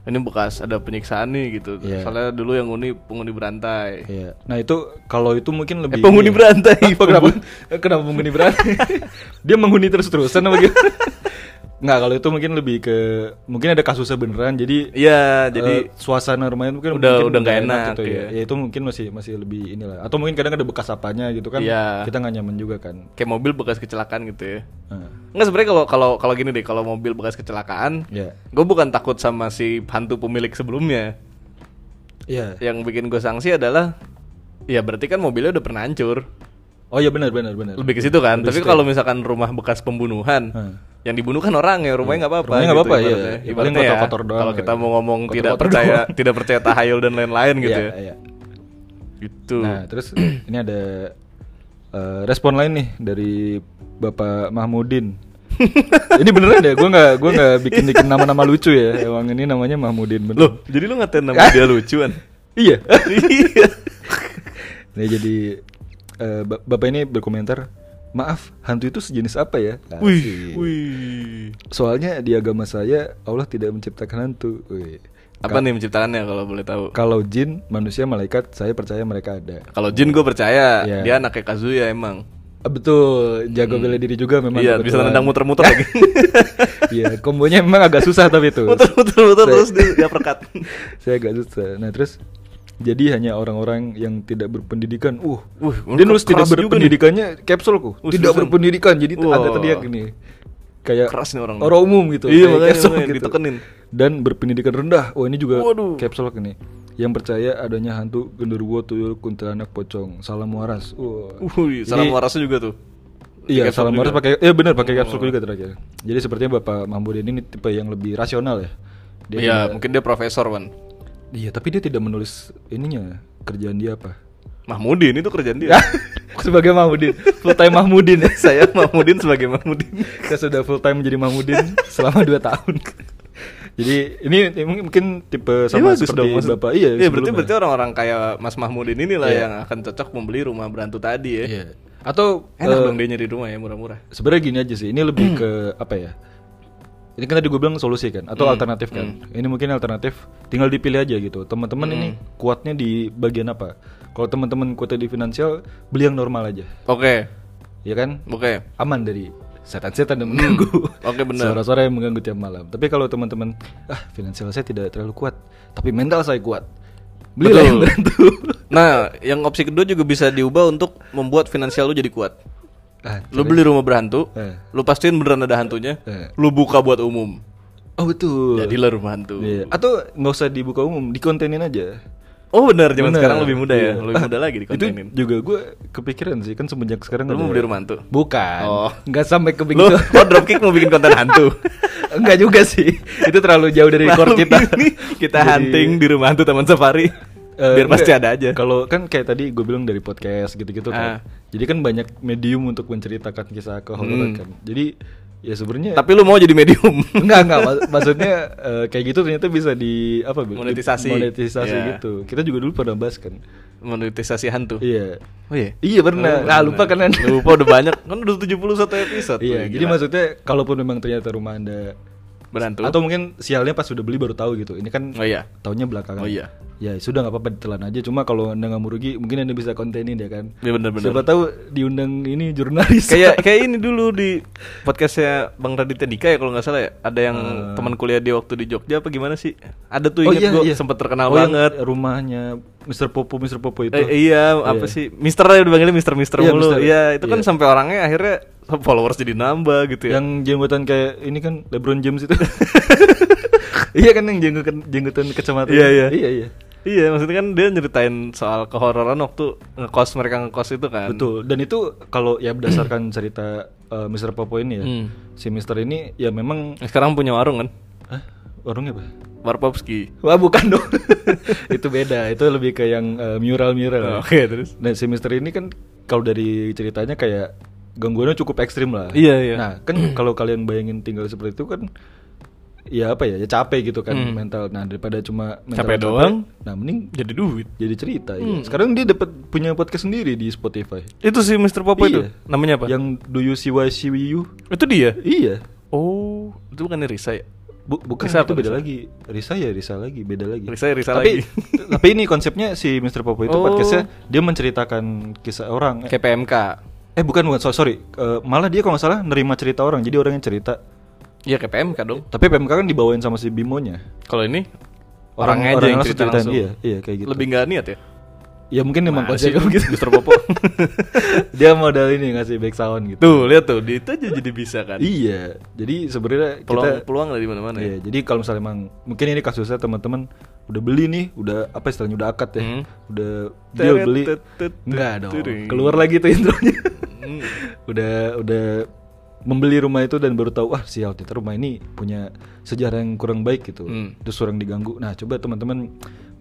[SPEAKER 1] Ini bekas ada penyiksaan nih gitu.
[SPEAKER 2] Iya.
[SPEAKER 1] Soalnya dulu yang nguni penghuni berantai.
[SPEAKER 2] Iya. Nah, itu kalau itu mungkin
[SPEAKER 1] Eh
[SPEAKER 2] lebih
[SPEAKER 1] penghuni berantai.
[SPEAKER 2] Apa, kenapa? Iya, Kenapa menghuni berani? Dia menghuni terus-terusan apa gitu? Nggak, kalau itu mungkin lebih ke mungkin ada kasusnya beneran. Jadi
[SPEAKER 1] Iya jadi
[SPEAKER 2] eh, suasana rumahnya mungkin
[SPEAKER 1] udah-
[SPEAKER 2] mungkin
[SPEAKER 1] udah nggak enak,
[SPEAKER 2] gitu ya. Ya itu mungkin masih masih lebih inilah. Atau mungkin kadang ada bekas apanya gitu kan.
[SPEAKER 1] Iya.
[SPEAKER 2] Kita nggak nyaman juga kan.
[SPEAKER 1] kayak mobil bekas kecelakaan gitu ya.
[SPEAKER 2] Nah,
[SPEAKER 1] Enggak sebenarnya kalau kalau kalau gini deh kalau mobil bekas kecelakaan,
[SPEAKER 2] ya.
[SPEAKER 1] gue bukan takut sama si hantu pemilik sebelumnya.
[SPEAKER 2] Iya.
[SPEAKER 1] Yang bikin gue sanksi adalah ya berarti kan mobilnya udah pernah hancur.
[SPEAKER 2] Oh iya benar benar benar.
[SPEAKER 1] Lebih ke situ kan. Tapi kalau misalkan rumah bekas pembunuhan,
[SPEAKER 2] Hmm.
[SPEAKER 1] yang dibunuh kan orang ya, rumahnya nggak apa-apa.
[SPEAKER 2] Rumahnya nggak apa-apa, iya.
[SPEAKER 1] ibaratnya.
[SPEAKER 2] Ya, paling
[SPEAKER 1] Ibaratnya ya,
[SPEAKER 2] kotor-kotor doang
[SPEAKER 1] Kalau
[SPEAKER 2] lah
[SPEAKER 1] kita
[SPEAKER 2] gitu.
[SPEAKER 1] mau ngomong tidak
[SPEAKER 2] Kotor-kotor
[SPEAKER 1] percaya, tidak percaya tahayul dan lain-lain gitu
[SPEAKER 2] Iya,
[SPEAKER 1] ya.
[SPEAKER 2] iya.
[SPEAKER 1] Gitu.
[SPEAKER 2] Nah, terus ini ada eh, respon lain nih dari Bapak Mahmudin. ini beneran ya, gue nggak gue nggak bikin bikin nama-nama lucu ya. Emang ini namanya Mahmudin bener.
[SPEAKER 1] Loh, jadi lu ngatain nama dia lucuan.
[SPEAKER 2] Iya.
[SPEAKER 1] Iya.
[SPEAKER 2] Nah, jadi eh, ba- bapak ini berkomentar, maaf hantu itu sejenis apa ya?
[SPEAKER 1] Wih,
[SPEAKER 2] Asik.
[SPEAKER 1] wih.
[SPEAKER 2] Soalnya di agama saya Allah tidak menciptakan hantu. Wih.
[SPEAKER 1] Apa nih menciptakannya kalau boleh tahu?
[SPEAKER 2] Kalau jin, manusia, malaikat, saya percaya mereka ada.
[SPEAKER 1] Kalau Jin gue percaya,
[SPEAKER 2] Iya.
[SPEAKER 1] dia anaknya Kazuya emang.
[SPEAKER 2] Ah, Betul, jago bela diri juga memang.
[SPEAKER 1] Iya, bisa
[SPEAKER 2] kebetulan.
[SPEAKER 1] nendang muter-muter lagi.
[SPEAKER 2] Iya, kombonya memang agak susah tapi itu.
[SPEAKER 1] Muter-muter terus dia, dia perkat.
[SPEAKER 2] Saya agak susah. Nah, terus jadi hanya orang-orang yang tidak berpendidikan. Uh,
[SPEAKER 1] Wah,
[SPEAKER 2] dia nulis tidak
[SPEAKER 1] keras juga nih.
[SPEAKER 2] berpendidikannya kapsulku.
[SPEAKER 1] Uh,
[SPEAKER 2] tidak
[SPEAKER 1] seriusan.
[SPEAKER 2] berpendidikan. Jadi
[SPEAKER 1] Wah.
[SPEAKER 2] agak teriak gini. Kayak
[SPEAKER 1] Keras nih orang.
[SPEAKER 2] umum gitu.
[SPEAKER 1] Iya,
[SPEAKER 2] kayak
[SPEAKER 1] makanya,
[SPEAKER 2] capsule
[SPEAKER 1] makanya ditekenin.
[SPEAKER 2] Dan berpendidikan rendah. Oh, ini juga
[SPEAKER 1] Waduh.
[SPEAKER 2] kapsul ini. Yang percaya adanya hantu, genderuwo, tuyul, kuntilanak, pocong, salam waras. Wah.
[SPEAKER 1] Wih,
[SPEAKER 2] Jadi-
[SPEAKER 1] salam warasnya juga tuh. Uh,
[SPEAKER 2] Iya,
[SPEAKER 1] Pakai
[SPEAKER 2] salam
[SPEAKER 1] kapsul juga.
[SPEAKER 2] waras
[SPEAKER 1] Oh.
[SPEAKER 2] pakai eh benar pakai kapsul juga terakhir. Jadi sepertinya Bapak Mahmudin ini tipe yang lebih rasional ya. Dia
[SPEAKER 1] Iya, mungkin dia profesor, Wan.
[SPEAKER 2] Iya, tapi dia tidak menulis ininya kerjaan dia apa.
[SPEAKER 1] Mahmudin itu kerjaan dia.
[SPEAKER 2] Sebagai Mahmudin, full time Mahmudin.
[SPEAKER 1] Saya Mahmudin sebagai Mahmudin.
[SPEAKER 2] Saya sudah full time menjadi Mahmudin selama 2 tahun. Jadi ini ini mungkin- mungkin tipe sama
[SPEAKER 1] bagus
[SPEAKER 2] seperti
[SPEAKER 1] dong, maksud-
[SPEAKER 2] Bapak. Iya,
[SPEAKER 1] berarti
[SPEAKER 2] sebelumnya.
[SPEAKER 1] berarti orang-orang kayak Mas Mahmudin inilah
[SPEAKER 2] Iya.
[SPEAKER 1] yang akan cocok membeli rumah berantu tadi ya.
[SPEAKER 2] Iya. Atau
[SPEAKER 1] Enak
[SPEAKER 2] eh,
[SPEAKER 1] dong dia nyari rumah ya murah-murah.
[SPEAKER 2] sebenarnya gini aja sih ini
[SPEAKER 1] Hmm.
[SPEAKER 2] lebih ke apa ya ini kan tadi gue bilang solusi kan atau
[SPEAKER 1] Hmm.
[SPEAKER 2] alternatif kan ini mungkin alternatif tinggal dipilih aja gitu teman-teman ini
[SPEAKER 1] Hmm.
[SPEAKER 2] kuatnya di bagian apa kalau teman-teman kuatnya di finansial beli yang normal aja
[SPEAKER 1] Oke.
[SPEAKER 2] ya kan
[SPEAKER 1] Oke.
[SPEAKER 2] aman dari setan-setan yang mengganggu
[SPEAKER 1] Oke, Hmm. benar.
[SPEAKER 2] suara-suara yang mengganggu tiap malam tapi kalau teman-teman ah finansial saya tidak terlalu kuat tapi mental saya kuat
[SPEAKER 1] Betul.
[SPEAKER 2] belilah yang berantu
[SPEAKER 1] Nah, yang opsi kedua juga bisa diubah untuk membuat finansial lu jadi kuat.
[SPEAKER 2] ah,
[SPEAKER 1] Lu beli rumah berhantu,
[SPEAKER 2] Eh.
[SPEAKER 1] lu pastiin beneran ada hantunya,
[SPEAKER 2] Eh.
[SPEAKER 1] lu buka buat umum.
[SPEAKER 2] oh betul
[SPEAKER 1] Jadilah rumah hantu.
[SPEAKER 2] Iya. Atau nggak usah dibuka umum, dikontenin aja.
[SPEAKER 1] Oh benar, zaman
[SPEAKER 2] Bener.
[SPEAKER 1] sekarang lebih muda ya,
[SPEAKER 2] Iya.
[SPEAKER 1] lebih muda lagi dikontenin.
[SPEAKER 2] Itu juga gue kepikiran sih kan semenjak sekarang
[SPEAKER 1] Lu mau
[SPEAKER 2] ada-
[SPEAKER 1] beli rumantu?
[SPEAKER 2] Bukan.
[SPEAKER 1] Oh.
[SPEAKER 2] Nggak sampai
[SPEAKER 1] Lu
[SPEAKER 2] ke begitu.
[SPEAKER 1] oh dropkick mau bikin konten hantu.
[SPEAKER 2] Enggak juga sih. Itu terlalu jauh dari core
[SPEAKER 1] Malam
[SPEAKER 2] kita.
[SPEAKER 1] ini kita
[SPEAKER 2] Jadi,
[SPEAKER 1] hunting di rumah hantu Taman Safari.
[SPEAKER 2] eh,
[SPEAKER 1] Biar pasti
[SPEAKER 2] enggak.
[SPEAKER 1] ada aja.
[SPEAKER 2] Kalau kan kayak tadi gue bilang dari podcast gitu-gitu
[SPEAKER 1] Ah.
[SPEAKER 2] kan. Jadi kan banyak medium untuk menceritakan kisah kehorroran
[SPEAKER 1] Hmm.
[SPEAKER 2] kan. Jadi ya sebenarnya
[SPEAKER 1] Tapi lu mau jadi medium.
[SPEAKER 2] enggak enggak mak- maksudnya eh, kayak gitu ternyata bisa di apa Bu?
[SPEAKER 1] Monetisasi.
[SPEAKER 2] monetisasi
[SPEAKER 1] Iya.
[SPEAKER 2] gitu kita juga dulu pernah bahas kan
[SPEAKER 1] Monetisasi hantu.
[SPEAKER 2] iya
[SPEAKER 1] Oh iya.
[SPEAKER 2] iya pernah nah, lupa kan Anda?
[SPEAKER 1] Lupa udah banyak. Kan udah 71 episode.
[SPEAKER 2] iya
[SPEAKER 1] Wih,
[SPEAKER 2] jadi
[SPEAKER 1] gila.
[SPEAKER 2] maksudnya kalaupun memang ternyata rumah anda
[SPEAKER 1] berhantu.
[SPEAKER 2] atau mungkin sialnya pas sudah beli baru tahu gitu ini kan
[SPEAKER 1] Oh iya.
[SPEAKER 2] tahunnya belakangan
[SPEAKER 1] Oh iya.
[SPEAKER 2] ya sudah nggak apa-apa ditelan aja cuma kalau anda nggak mau rugi mungkin anda bisa kontenin ya kan
[SPEAKER 1] Iya, benar-benar.
[SPEAKER 2] siapa tahu diundang ini jurnalis
[SPEAKER 1] kayak kayak ini dulu di podcastnya Bang Raditya Dika ya kalau nggak salah ya ada yang
[SPEAKER 2] Eh.
[SPEAKER 1] teman kuliah dia waktu di Jogja apa gimana sih ada tuh inget gue sempet terkenal
[SPEAKER 2] iya, Oh, yang
[SPEAKER 1] banget
[SPEAKER 2] rumahnya Mr. Popo Mr. Popo itu
[SPEAKER 1] Eh, iya apa sih Mister aja udah panggilnya Mister Mister
[SPEAKER 2] Iya,
[SPEAKER 1] mulu
[SPEAKER 2] Mister.
[SPEAKER 1] iya itu kan
[SPEAKER 2] Iya.
[SPEAKER 1] sampai orangnya akhirnya followers jadi nambah gitu ya
[SPEAKER 2] Yang jenggotan kayak ini kan LeBron James itu. iya kan yang jenggotan jenggotan kecamatan.
[SPEAKER 1] Iya, iya.
[SPEAKER 2] Iya iya.
[SPEAKER 1] iya maksudnya kan dia nyeritain soal kehororan waktu ngekos mereka ngekos itu kan
[SPEAKER 2] Betul. Dan itu kalau ya berdasarkan cerita uh, Mr. Popo ini ya.
[SPEAKER 1] Hmm.
[SPEAKER 2] Si Mr. ini ya memang
[SPEAKER 1] sekarang punya warung kan
[SPEAKER 2] Hah? warungnya apa?
[SPEAKER 1] Warpopski
[SPEAKER 2] Wah, bukan dong. itu beda. Itu lebih ke yang uh,
[SPEAKER 1] Oh,
[SPEAKER 2] mural-mural.
[SPEAKER 1] oke terus
[SPEAKER 2] Nah, si Mister ini kan kalau dari ceritanya kayak gangguannya cukup ekstrim lah.
[SPEAKER 1] Iya, iya.
[SPEAKER 2] Nah, kan kalau kalian bayangin tinggal seperti itu kan ya apa ya, ya capek gitu kan
[SPEAKER 1] Hmm.
[SPEAKER 2] mental. Nah, daripada cuma mental
[SPEAKER 1] Capek doang. Hmm.
[SPEAKER 2] Nah, mending
[SPEAKER 1] jadi duit
[SPEAKER 2] jadi cerita ya. Sekarang dia dapat punya podcast sendiri di Spotify.
[SPEAKER 1] itu si Mister Popo itu
[SPEAKER 2] Iya.
[SPEAKER 1] namanya apa
[SPEAKER 2] Yang Do You See Why See You?
[SPEAKER 1] itu dia
[SPEAKER 2] Iya.
[SPEAKER 1] oh itu bukan Risa ya
[SPEAKER 2] Bu- bukan
[SPEAKER 1] Risa
[SPEAKER 2] Nah, itu
[SPEAKER 1] apa,
[SPEAKER 2] beda
[SPEAKER 1] Risa?
[SPEAKER 2] lagi. Risa ya Risa lagi, beda lagi.
[SPEAKER 1] Risa ya Risa lagi.
[SPEAKER 2] tapi, tapi ini konsepnya si Mr. Popo itu
[SPEAKER 1] Oh.
[SPEAKER 2] podcastnya dia menceritakan kisah orang.
[SPEAKER 1] kayak PMK
[SPEAKER 2] Eh bukan bukan so- sorry Eh, malah dia kalau nggak salah nerima cerita orang jadi orang yang cerita
[SPEAKER 1] Iya kayak PMK dong
[SPEAKER 2] tapi PMK kan dibawain sama si Bimonya
[SPEAKER 1] Kalau ini
[SPEAKER 2] Orang-
[SPEAKER 1] orangnya aja
[SPEAKER 2] orang
[SPEAKER 1] yang
[SPEAKER 2] langsung
[SPEAKER 1] cerita
[SPEAKER 2] ceritain,
[SPEAKER 1] langsung.
[SPEAKER 2] iya, iya, kayak gitu.
[SPEAKER 1] Lebih nggak niat ya?
[SPEAKER 2] ya mungkin memang
[SPEAKER 1] Mana sih
[SPEAKER 2] konsepnya
[SPEAKER 1] lu,
[SPEAKER 2] gitu
[SPEAKER 1] Mr. Nah, Popo?
[SPEAKER 2] dia modal ini ngasih back sound gitu
[SPEAKER 1] Tuh lihat tuh, di itu aja jadi bisa kan.
[SPEAKER 2] iya jadi sebenarnya
[SPEAKER 1] Peluang
[SPEAKER 2] kita
[SPEAKER 1] peluang dari mana-mana ya.
[SPEAKER 2] Iya, jadi kalau misalnya emang mungkin ini kasusnya teman-teman udah beli nih udah apa istilahnya udah akad ya
[SPEAKER 1] Hmm.
[SPEAKER 2] udah deal beli
[SPEAKER 1] Teretetet.
[SPEAKER 2] enggak dong
[SPEAKER 1] Turing.
[SPEAKER 2] keluar lagi tuh intronya
[SPEAKER 1] Hmm.
[SPEAKER 2] udah udah membeli rumah itu dan baru tahu wah sial ternyata rumah ini punya sejarah yang kurang baik gitu
[SPEAKER 1] Hmm.
[SPEAKER 2] terus orang diganggu nah coba teman-teman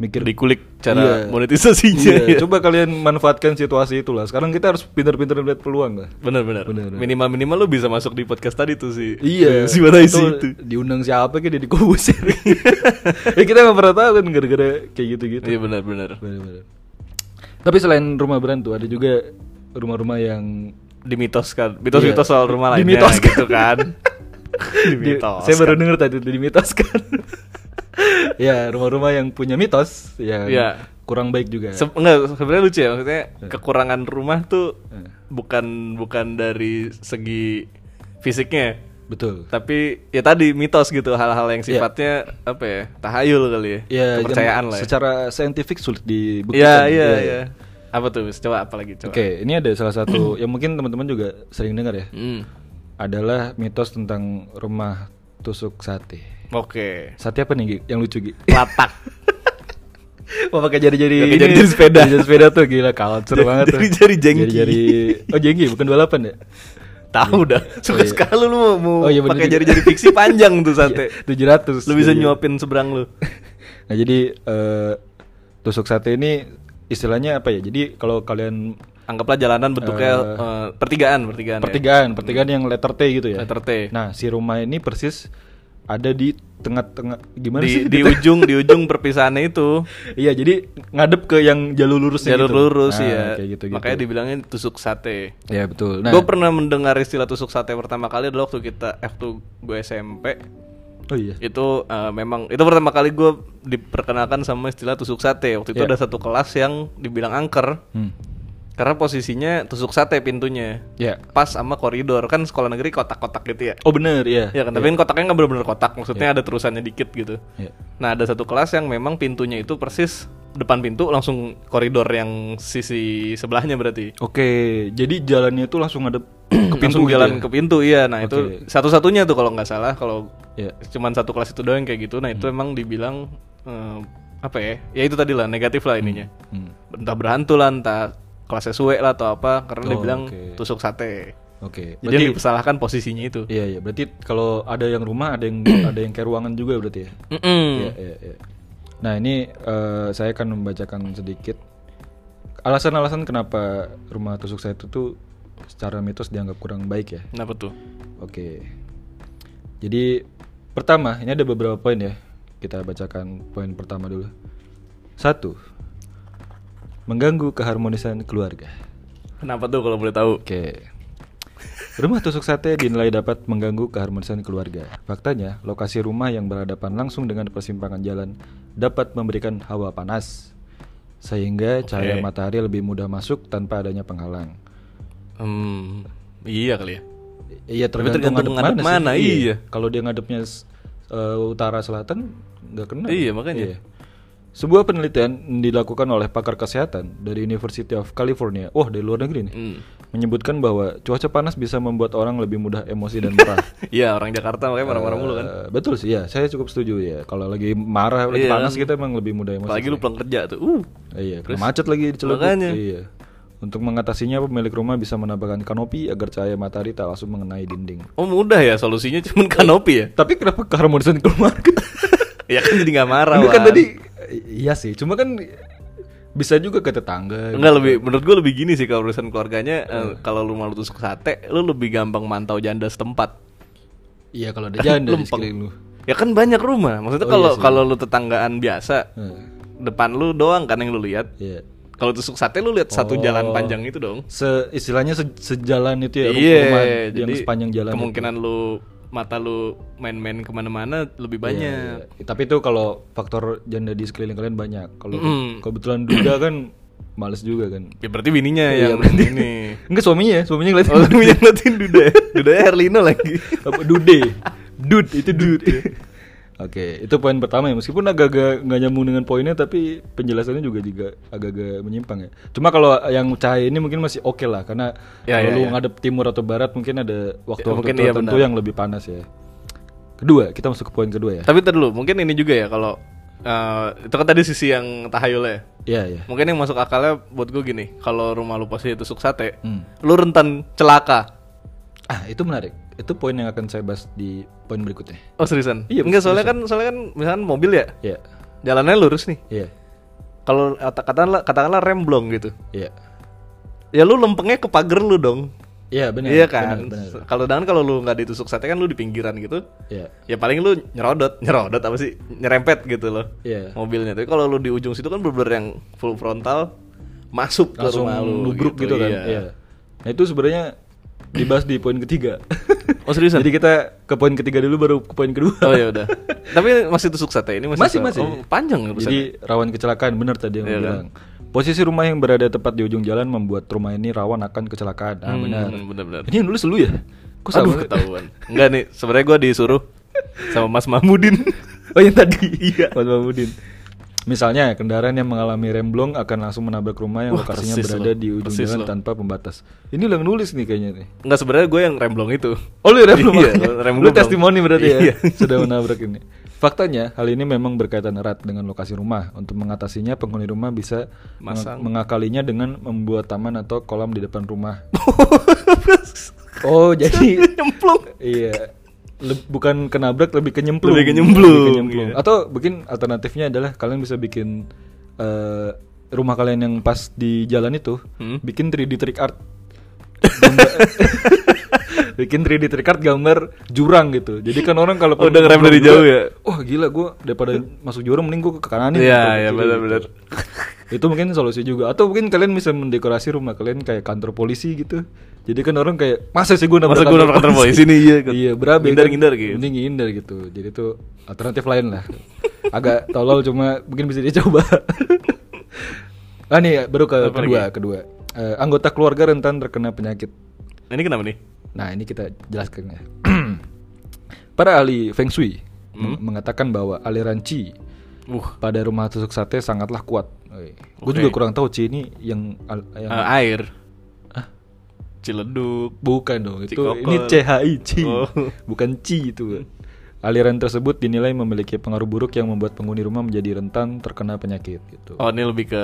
[SPEAKER 2] mikir
[SPEAKER 1] Dikulik
[SPEAKER 2] Iya.
[SPEAKER 1] cara monetisasinya.
[SPEAKER 2] Iya,
[SPEAKER 1] ya.
[SPEAKER 2] coba kalian manfaatkan situasi itulah sekarang kita harus pintar-pintar melihat peluang lah
[SPEAKER 1] Bener-bener.
[SPEAKER 2] Bener, bener.
[SPEAKER 1] Minimal minimal lo bisa masuk di podcast tadi tuh si
[SPEAKER 2] Iya.
[SPEAKER 1] si mana isi
[SPEAKER 2] Atau
[SPEAKER 1] itu.
[SPEAKER 2] Diundang siapa kayak Deddy Corbuzier. ya kita nggak pernah tahu kan gara-gara kayak gitu-gitu.
[SPEAKER 1] Iya benar-benar.
[SPEAKER 2] Bener-bener. Tapi selain rumah berantu ada juga rumah-rumah yang
[SPEAKER 1] Dimitoskan. Mitos-mitos soal rumah lainnya
[SPEAKER 2] Iya. Dimitoskan.
[SPEAKER 1] gitu kan.
[SPEAKER 2] Di-
[SPEAKER 1] Dimitoskan.
[SPEAKER 2] Saya baru dengar tadi itu dimitoskan. ya, rumah-rumah yang punya mitos yang
[SPEAKER 1] Iya.
[SPEAKER 2] kurang baik juga.
[SPEAKER 1] Se enggak, sebenarnya lucu ya maksudnya
[SPEAKER 2] Iya.
[SPEAKER 1] kekurangan rumah tuh
[SPEAKER 2] Eh.
[SPEAKER 1] bukan bukan dari segi fisiknya ya.
[SPEAKER 2] Betul.
[SPEAKER 1] tapi ya tadi mitos gitu hal-hal yang
[SPEAKER 2] Iya.
[SPEAKER 1] sifatnya apa ya tahayul kali ya,
[SPEAKER 2] Ya,
[SPEAKER 1] kepercayaan
[SPEAKER 2] yang
[SPEAKER 1] lah ya
[SPEAKER 2] secara saintifik sulit
[SPEAKER 1] iya
[SPEAKER 2] dibuktikan. gitu ya.
[SPEAKER 1] iya iya apa tuh Mis? coba apa lagi coba
[SPEAKER 2] Oke, ini ada salah satu yang mungkin teman-teman juga sering dengar ya.
[SPEAKER 1] Hmm.
[SPEAKER 2] adalah mitos tentang rumah tusuk sate.
[SPEAKER 1] oke
[SPEAKER 2] Sate apa nih Gi? yang lucu Gi?
[SPEAKER 1] latak
[SPEAKER 2] Mau pakai jari-jari
[SPEAKER 1] Pakai jari-jari sepeda.
[SPEAKER 2] Jari sepeda tuh gila culture
[SPEAKER 1] Jari-
[SPEAKER 2] banget. tuh.
[SPEAKER 1] jari-jari jengki.
[SPEAKER 2] Jari-jari Oh jengki bukan 28 ya?
[SPEAKER 1] tahu dah suka
[SPEAKER 2] iya.
[SPEAKER 1] sekali lu mau- mau
[SPEAKER 2] Oh, iya bener
[SPEAKER 1] pakai
[SPEAKER 2] juga.
[SPEAKER 1] jari-jari fiksi panjang tuh sate
[SPEAKER 2] Iya, 700.
[SPEAKER 1] lu bisa
[SPEAKER 2] Jadi-
[SPEAKER 1] nyuapin seberang lu
[SPEAKER 2] Nah, jadi eh, tusuk sate ini istilahnya apa ya? Jadi kalau kalian
[SPEAKER 1] anggaplah jalanan bentuknya
[SPEAKER 2] Eh,
[SPEAKER 1] eh, pertigaan pertigaan ya.
[SPEAKER 2] pertigaan, pertigaan yang letter T gitu ya.
[SPEAKER 1] Letter T.
[SPEAKER 2] Nah, si rumah ini persis ada di tengah-tengah gimana
[SPEAKER 1] di,
[SPEAKER 2] sih? Gitu.
[SPEAKER 1] di ujung di ujung perpisahannya itu
[SPEAKER 2] Iya, jadi ngadep ke yang jalur lurus gitu. Ah,
[SPEAKER 1] jalur lurus ya
[SPEAKER 2] Kayak gitu-gitu.
[SPEAKER 1] makanya dibilangnya tusuk sate
[SPEAKER 2] Ya betul. Nah,
[SPEAKER 1] Gue pernah mendengar istilah tusuk sate pertama kali adalah waktu kita waktu gue SMP
[SPEAKER 2] oh iya.
[SPEAKER 1] itu eh, memang itu pertama kali gue diperkenalkan sama istilah tusuk sate waktu itu
[SPEAKER 2] Iya.
[SPEAKER 1] ada satu kelas yang dibilang angker
[SPEAKER 2] Hmm.
[SPEAKER 1] karena posisinya tusuk sate pintunya
[SPEAKER 2] Ya.
[SPEAKER 1] pas sama koridor kan sekolah negeri kotak-kotak gitu ya
[SPEAKER 2] Oh bener ya.
[SPEAKER 1] ya kan tapi kan kotaknya nggak benar-benar kotak maksudnya ada terusannya dikit gitu
[SPEAKER 2] Ya.
[SPEAKER 1] nah ada satu kelas yang memang pintunya itu persis depan pintu langsung koridor yang sisi sebelahnya berarti
[SPEAKER 2] Oke, jadi jalannya itu langsung ada ke
[SPEAKER 1] langsung
[SPEAKER 2] pintu gitu
[SPEAKER 1] jalan
[SPEAKER 2] ya?
[SPEAKER 1] ke pintu iya nah itu
[SPEAKER 2] Oke.
[SPEAKER 1] satu-satunya tuh kalau nggak salah kalau
[SPEAKER 2] Ya. Hmm.
[SPEAKER 1] cuman satu kelas itu doang kayak gitu nah itu emang dibilang eh, apa ya ya itu tadi lah negatif lah ininya
[SPEAKER 2] Hmm.
[SPEAKER 1] entah berhantu lah entah kelas SW lah atau apa karena dia
[SPEAKER 2] Oh,
[SPEAKER 1] bilang
[SPEAKER 2] oke.
[SPEAKER 1] tusuk sate
[SPEAKER 2] Oke.
[SPEAKER 1] jadi
[SPEAKER 2] Berarti
[SPEAKER 1] yang dipersalahkan posisinya itu
[SPEAKER 2] Iya iya, berarti kalau ada yang rumah, ada yang ada yang kayak ruangan juga berarti ya.
[SPEAKER 1] Mm-mm.
[SPEAKER 2] Iya, iya, iya. Nah ini eh, saya akan membacakan sedikit alasan-alasan kenapa rumah tusuk saya itu tuh secara mitos dianggap kurang baik ya.
[SPEAKER 1] kenapa tuh
[SPEAKER 2] Oke. Jadi pertama ini ada beberapa poin ya. Kita bacakan poin pertama dulu. Satu, mengganggu keharmonisan keluarga.
[SPEAKER 1] kenapa tuh kalau boleh tahu
[SPEAKER 2] Oke. Rumah tusuk sate dinilai dapat mengganggu keharmonisan keluarga. Faktanya, lokasi rumah yang berhadapan langsung dengan persimpangan jalan dapat memberikan hawa panas sehingga cahaya
[SPEAKER 1] Oke.
[SPEAKER 2] matahari lebih mudah masuk tanpa adanya penghalang.
[SPEAKER 1] hmm, iya kali ya
[SPEAKER 2] I- Iya
[SPEAKER 1] Tapi tergantung
[SPEAKER 2] tergantung,
[SPEAKER 1] ngadep
[SPEAKER 2] sih.
[SPEAKER 1] mana, iya.
[SPEAKER 2] Kalau dia ngadepnya s- eh, utara selatan nggak kena.
[SPEAKER 1] Iya, makanya.
[SPEAKER 2] Sebuah penelitian dilakukan oleh pakar kesehatan dari University of California. Wah, dari luar negeri nih.
[SPEAKER 1] Hmm.
[SPEAKER 2] menyebutkan bahwa cuaca panas bisa membuat orang lebih mudah emosi dan marah.
[SPEAKER 1] Iya orang Jakarta makanya marah-marah mulu kan
[SPEAKER 2] Eh, betul sih ya, saya cukup setuju ya. Kalau lagi marah, lagi
[SPEAKER 1] Iya
[SPEAKER 2] panas
[SPEAKER 1] kan.
[SPEAKER 2] kita emang lebih mudah emosi.
[SPEAKER 1] apalagi lu pulang kerja tuh uh
[SPEAKER 2] Eh, iya, kena macet lagi di Ciledug.
[SPEAKER 1] Makanya.
[SPEAKER 2] Iya. Untuk mengatasinya pemilik rumah bisa menambahkan kanopi agar cahaya matahari tak langsung mengenai dinding.
[SPEAKER 1] oh mudah ya solusinya cuman kanopi ya
[SPEAKER 2] Tapi kenapa keharmonisan keluarga?
[SPEAKER 1] ya kan jadi nggak marah
[SPEAKER 2] Ini kan
[SPEAKER 1] Wan.
[SPEAKER 2] tadi iya sih, cuma kan bisa juga ke tetangga.
[SPEAKER 1] Enggak lebih menurut gue lebih gini sih kalau urusan keluarganya eh,
[SPEAKER 2] Iya.
[SPEAKER 1] kalau lu malu tusuk sate lu lebih gampang mantau janda setempat
[SPEAKER 2] Iya kalau ada janda di
[SPEAKER 1] Lempeng.
[SPEAKER 2] sekeliling lu.
[SPEAKER 1] ya kan banyak rumah maksudnya
[SPEAKER 2] Oh,
[SPEAKER 1] kalau
[SPEAKER 2] iya sih.
[SPEAKER 1] kalau lu tetanggaan biasa
[SPEAKER 2] Eh,
[SPEAKER 1] depan lu doang kan yang lu lihat
[SPEAKER 2] Iya.
[SPEAKER 1] kalau tusuk sate lu lihat satu
[SPEAKER 2] Oh.
[SPEAKER 1] jalan panjang itu dong
[SPEAKER 2] se istilahnya se- sejalan itu ya rum- rumah
[SPEAKER 1] iya
[SPEAKER 2] yang
[SPEAKER 1] jadi
[SPEAKER 2] sepanjang jalan
[SPEAKER 1] kemungkinan lu mata lu main-main kemana-mana lebih
[SPEAKER 2] itu. Iya,
[SPEAKER 1] banyak
[SPEAKER 2] iya. tapi itu kalau faktor janda di sekeliling kalian banyak kalau
[SPEAKER 1] Mm-mm.
[SPEAKER 2] kebetulan duda kan males juga kan
[SPEAKER 1] ya berarti bininya
[SPEAKER 2] Iya,
[SPEAKER 1] yang
[SPEAKER 2] berarti.
[SPEAKER 1] ini
[SPEAKER 2] enggak suaminya ya, suaminya ngeliatin
[SPEAKER 1] oh yang ngeliatin duda ya? duda Herlino lagi iya.
[SPEAKER 2] apa dude dude itu dude Oke, itu poin pertama ya. Meskipun agak-agak nggak nyambung dengan poinnya, tapi penjelasannya juga juga agak-agak menyimpang ya. Cuma kalau yang cahaya ini mungkin masih oke lah, karena
[SPEAKER 1] Ya, ya,
[SPEAKER 2] kalau lu
[SPEAKER 1] ya.
[SPEAKER 2] ngadep timur atau barat mungkin ada waktu-waktu
[SPEAKER 1] mungkin iya,
[SPEAKER 2] tertentu
[SPEAKER 1] benar.
[SPEAKER 2] yang lebih panas ya. Kedua, kita masuk ke poin kedua ya.
[SPEAKER 1] Iya. tapi ntar dulu mungkin ini juga ya kalau eh, itu kan tadi sisi yang tahayulnya
[SPEAKER 2] Iya iya.
[SPEAKER 1] mungkin yang masuk akalnya buat gue gini kalau rumah lu pasti tusuk sate
[SPEAKER 2] Hmm.
[SPEAKER 1] lu rentan celaka
[SPEAKER 2] Ah itu menarik. Itu poin yang akan saya bahas di poin berikutnya.
[SPEAKER 1] Oh seriusan?
[SPEAKER 2] Iya,
[SPEAKER 1] Enggak soalnya kan soalnya kan misalkan mobil ya
[SPEAKER 2] Iya
[SPEAKER 1] jalannya lurus nih.
[SPEAKER 2] iya
[SPEAKER 1] Kalau kata- katakanlah katakanlah rem blong gitu.
[SPEAKER 2] iya.
[SPEAKER 1] Ya lu lempengnya ke pagar lu dong.
[SPEAKER 2] Iya benar.
[SPEAKER 1] iya kan?
[SPEAKER 2] benar, benar.
[SPEAKER 1] Kalau dan kalau lu nggak ditusuk sate kan lu di pinggiran gitu.
[SPEAKER 2] Iya
[SPEAKER 1] Ya paling lu nyerodot, nyerodot apa sih? Nyerempet gitu loh.
[SPEAKER 2] iya.
[SPEAKER 1] Mobilnya. Tapi kalau lu di ujung situ kan bener yang full frontal masuk ke
[SPEAKER 2] Langsung
[SPEAKER 1] rumah lu
[SPEAKER 2] nubruk gitu, kan.
[SPEAKER 1] iya.
[SPEAKER 2] Iya. Nah itu sebenarnya dibahas di poin ketiga.
[SPEAKER 1] Oh seriusan?
[SPEAKER 2] Jadi kita ke poin ketiga dulu baru ke poin kedua.
[SPEAKER 1] Oh ya udah. Tapi masih tusuk sate ini masih
[SPEAKER 2] Masih, masih.
[SPEAKER 1] Oh, panjang urusannya.
[SPEAKER 2] Jadi rawan kecelakaan benar tadi yang
[SPEAKER 1] Iya
[SPEAKER 2] lu bilang. Posisi rumah yang berada tepat di ujung jalan membuat rumah ini rawan akan kecelakaan. Ah
[SPEAKER 1] Hmm,
[SPEAKER 2] benar.
[SPEAKER 1] benar-benar.
[SPEAKER 2] Ini yang nulis lu ya? Kok
[SPEAKER 1] Aduh,
[SPEAKER 2] sama?
[SPEAKER 1] ketahuan. Enggak nih, sebenarnya gue disuruh sama Mas Mahmudin.
[SPEAKER 2] Oh yang tadi iya Mas Mahmudin. Misalnya kendaraan yang mengalami remblong akan langsung menabrak rumah yang
[SPEAKER 1] Wah,
[SPEAKER 2] lokasinya
[SPEAKER 1] persis
[SPEAKER 2] berada
[SPEAKER 1] loh.
[SPEAKER 2] di ujung
[SPEAKER 1] Persis
[SPEAKER 2] jalan
[SPEAKER 1] loh.
[SPEAKER 2] tanpa pembatas. Ini lo yang nulis nih kayaknya nih.
[SPEAKER 1] Enggak sebenarnya gue yang remblong itu.
[SPEAKER 2] Oh lu remblong.
[SPEAKER 1] Iya,
[SPEAKER 2] makanya.
[SPEAKER 1] remblong.
[SPEAKER 2] Lu testimoni berarti ya.
[SPEAKER 1] Iya.
[SPEAKER 2] Sudah menabrak ini. Faktanya hal ini memang berkaitan erat dengan lokasi rumah. Untuk mengatasinya penghuni rumah bisa meng-
[SPEAKER 1] Masang.
[SPEAKER 2] mengakalinya dengan membuat taman atau kolam di depan rumah. oh jadi
[SPEAKER 1] Nyemplung.
[SPEAKER 2] Iya. Le- bukan kenabrak lebih ke nyemplung.
[SPEAKER 1] Lebih ke nyemplung,
[SPEAKER 2] Lebih ke nyemplung.
[SPEAKER 1] iya.
[SPEAKER 2] Atau mungkin alternatifnya adalah kalian bisa bikin eh, rumah kalian yang pas di jalan itu,
[SPEAKER 1] Hmm.
[SPEAKER 2] bikin 3D trick art. Gambar- bikin 3D trick art gambar jurang gitu. Jadi kan orang kalau
[SPEAKER 1] Oh, udah ngerem dari
[SPEAKER 2] juga,
[SPEAKER 1] jauh ya?
[SPEAKER 2] Wah, gila gue daripada masuk jurang mending gue ke kanan nih,
[SPEAKER 1] Iya,
[SPEAKER 2] daripada ke
[SPEAKER 1] iya
[SPEAKER 2] kiri
[SPEAKER 1] benar-benar.
[SPEAKER 2] gitu. Itu mungkin solusi juga. Atau mungkin kalian bisa mendekorasi rumah kalian kayak kantor polisi gitu. Jadi kan orang kayak masa sih gue
[SPEAKER 1] Masa gua nabrak kantor polisi nih, iya, kan.
[SPEAKER 2] iya berabe
[SPEAKER 1] Ngindar-
[SPEAKER 2] kan.
[SPEAKER 1] ngindar gitu.
[SPEAKER 2] mending ngindar gitu jadi itu alternatif lain lah agak tolol cuma mungkin bisa dicoba ah nih baru ke
[SPEAKER 1] Apa
[SPEAKER 2] kedua kedua Eh, anggota keluarga rentan terkena penyakit
[SPEAKER 1] Nah, ini kenapa nih?
[SPEAKER 2] nah ini kita jelaskan ya para ahli feng shui
[SPEAKER 1] Hmm?
[SPEAKER 2] meng- mengatakan bahwa aliran qi
[SPEAKER 1] Uh,
[SPEAKER 2] pada rumah tusuk sate sangatlah kuat gue
[SPEAKER 1] Oke.
[SPEAKER 2] juga kurang tahu qi ini yang, al- yang
[SPEAKER 1] eh, air. Ciledug.
[SPEAKER 2] Bukan dong, itu
[SPEAKER 1] Cikokol.
[SPEAKER 2] ini CHI, Ci.
[SPEAKER 1] Oh.
[SPEAKER 2] Bukan Ci itu. Aliran tersebut dinilai memiliki pengaruh buruk yang membuat penghuni rumah menjadi rentan terkena penyakit gitu.
[SPEAKER 1] Oh ini lebih ke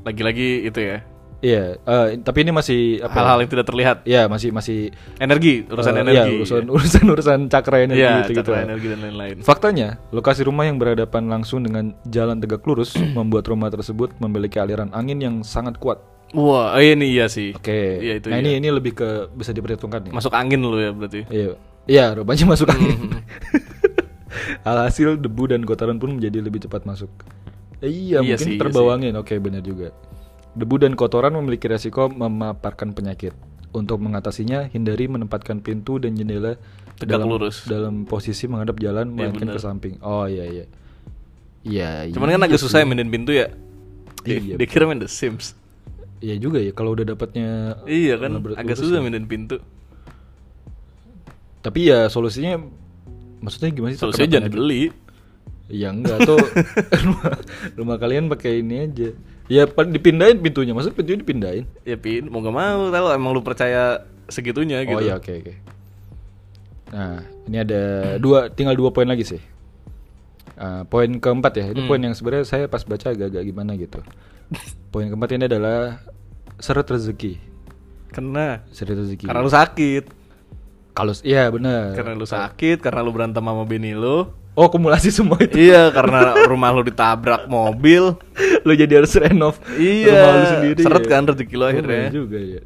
[SPEAKER 1] lagi-lagi itu ya
[SPEAKER 2] Iya, eh, tapi ini masih apa? ya?
[SPEAKER 1] hal-hal yang tidak terlihat
[SPEAKER 2] Iya, masih masih
[SPEAKER 1] energi Ah. urusan
[SPEAKER 2] eh,
[SPEAKER 1] energi.
[SPEAKER 2] Iya, urusan urusan urusan cakra energi
[SPEAKER 1] Iya,
[SPEAKER 2] gitu gitu.
[SPEAKER 1] cakra energi dan lain-lain.
[SPEAKER 2] Faktanya, lokasi rumah yang berhadapan langsung dengan jalan tegak lurus membuat rumah tersebut memiliki aliran angin yang sangat kuat.
[SPEAKER 1] Wah, oh, ini iya sih.
[SPEAKER 2] Oke.
[SPEAKER 1] Iya itu.
[SPEAKER 2] nah
[SPEAKER 1] iya.
[SPEAKER 2] ini ini lebih ke bisa diperhitungkan nih.
[SPEAKER 1] masuk angin lu ya berarti.
[SPEAKER 2] Iya, iya rupanya masuk
[SPEAKER 1] Hmm.
[SPEAKER 2] angin. Alhasil debu dan kotoran pun menjadi lebih cepat masuk. Eh, iya,
[SPEAKER 1] Iya
[SPEAKER 2] mungkin
[SPEAKER 1] sih, iya
[SPEAKER 2] terbawa angin. Oke, benar juga. Debu dan kotoran memiliki resiko memaparkan penyakit. Untuk mengatasinya, hindari menempatkan pintu dan jendela
[SPEAKER 1] Tegak
[SPEAKER 2] dalam,
[SPEAKER 1] lurus. Iya,
[SPEAKER 2] dalam posisi menghadap jalan melainkan ke samping. Oh iya iya. Iya.
[SPEAKER 1] Cuman kan
[SPEAKER 2] iya
[SPEAKER 1] agak
[SPEAKER 2] sih.
[SPEAKER 1] susah ya mainin pintu ya. Di-
[SPEAKER 2] Iya.
[SPEAKER 1] Dikira main The Sims.
[SPEAKER 2] Iya juga ya kalau udah dapatnya
[SPEAKER 1] Iya kan,
[SPEAKER 2] labrat
[SPEAKER 1] agak
[SPEAKER 2] lurus
[SPEAKER 1] susah
[SPEAKER 2] ya.
[SPEAKER 1] mainin pintu.
[SPEAKER 2] Tapi ya solusinya maksudnya gimana sih?
[SPEAKER 1] Solusinya
[SPEAKER 2] terkena
[SPEAKER 1] jangan
[SPEAKER 2] penyakit?
[SPEAKER 1] dibeli.
[SPEAKER 2] Ya enggak tuh rumah, rumah kalian pakai ini aja. Ya pa- dipindahin pintunya, maksud pintunya dipindahin.
[SPEAKER 1] Ya pin, mau gak mau kalau emang lu percaya segitunya gitu.
[SPEAKER 2] Oh ya oke oke. Nah ini ada dua, tinggal dua poin lagi sih. Ah, poin keempat ya,
[SPEAKER 1] Hmm.
[SPEAKER 2] ini poin yang sebenarnya saya pas baca agak-agak gimana gitu. Poin keempat ini adalah seret rezeki,
[SPEAKER 1] Kena.
[SPEAKER 2] seret rezeki.
[SPEAKER 1] Karena lu sakit.
[SPEAKER 2] Kalau iya benar.
[SPEAKER 1] Karena lu sakit, karena lu berantem sama bini lu.
[SPEAKER 2] Oh kumulasi semua itu.
[SPEAKER 1] iya, karena rumah lu ditabrak mobil.
[SPEAKER 2] lo jadi harus renov
[SPEAKER 1] Iya,
[SPEAKER 2] rumah lu sendiri
[SPEAKER 1] seret
[SPEAKER 2] ya.
[SPEAKER 1] kan rezeki lo
[SPEAKER 2] Oh,
[SPEAKER 1] akhirnya.
[SPEAKER 2] bener juga ya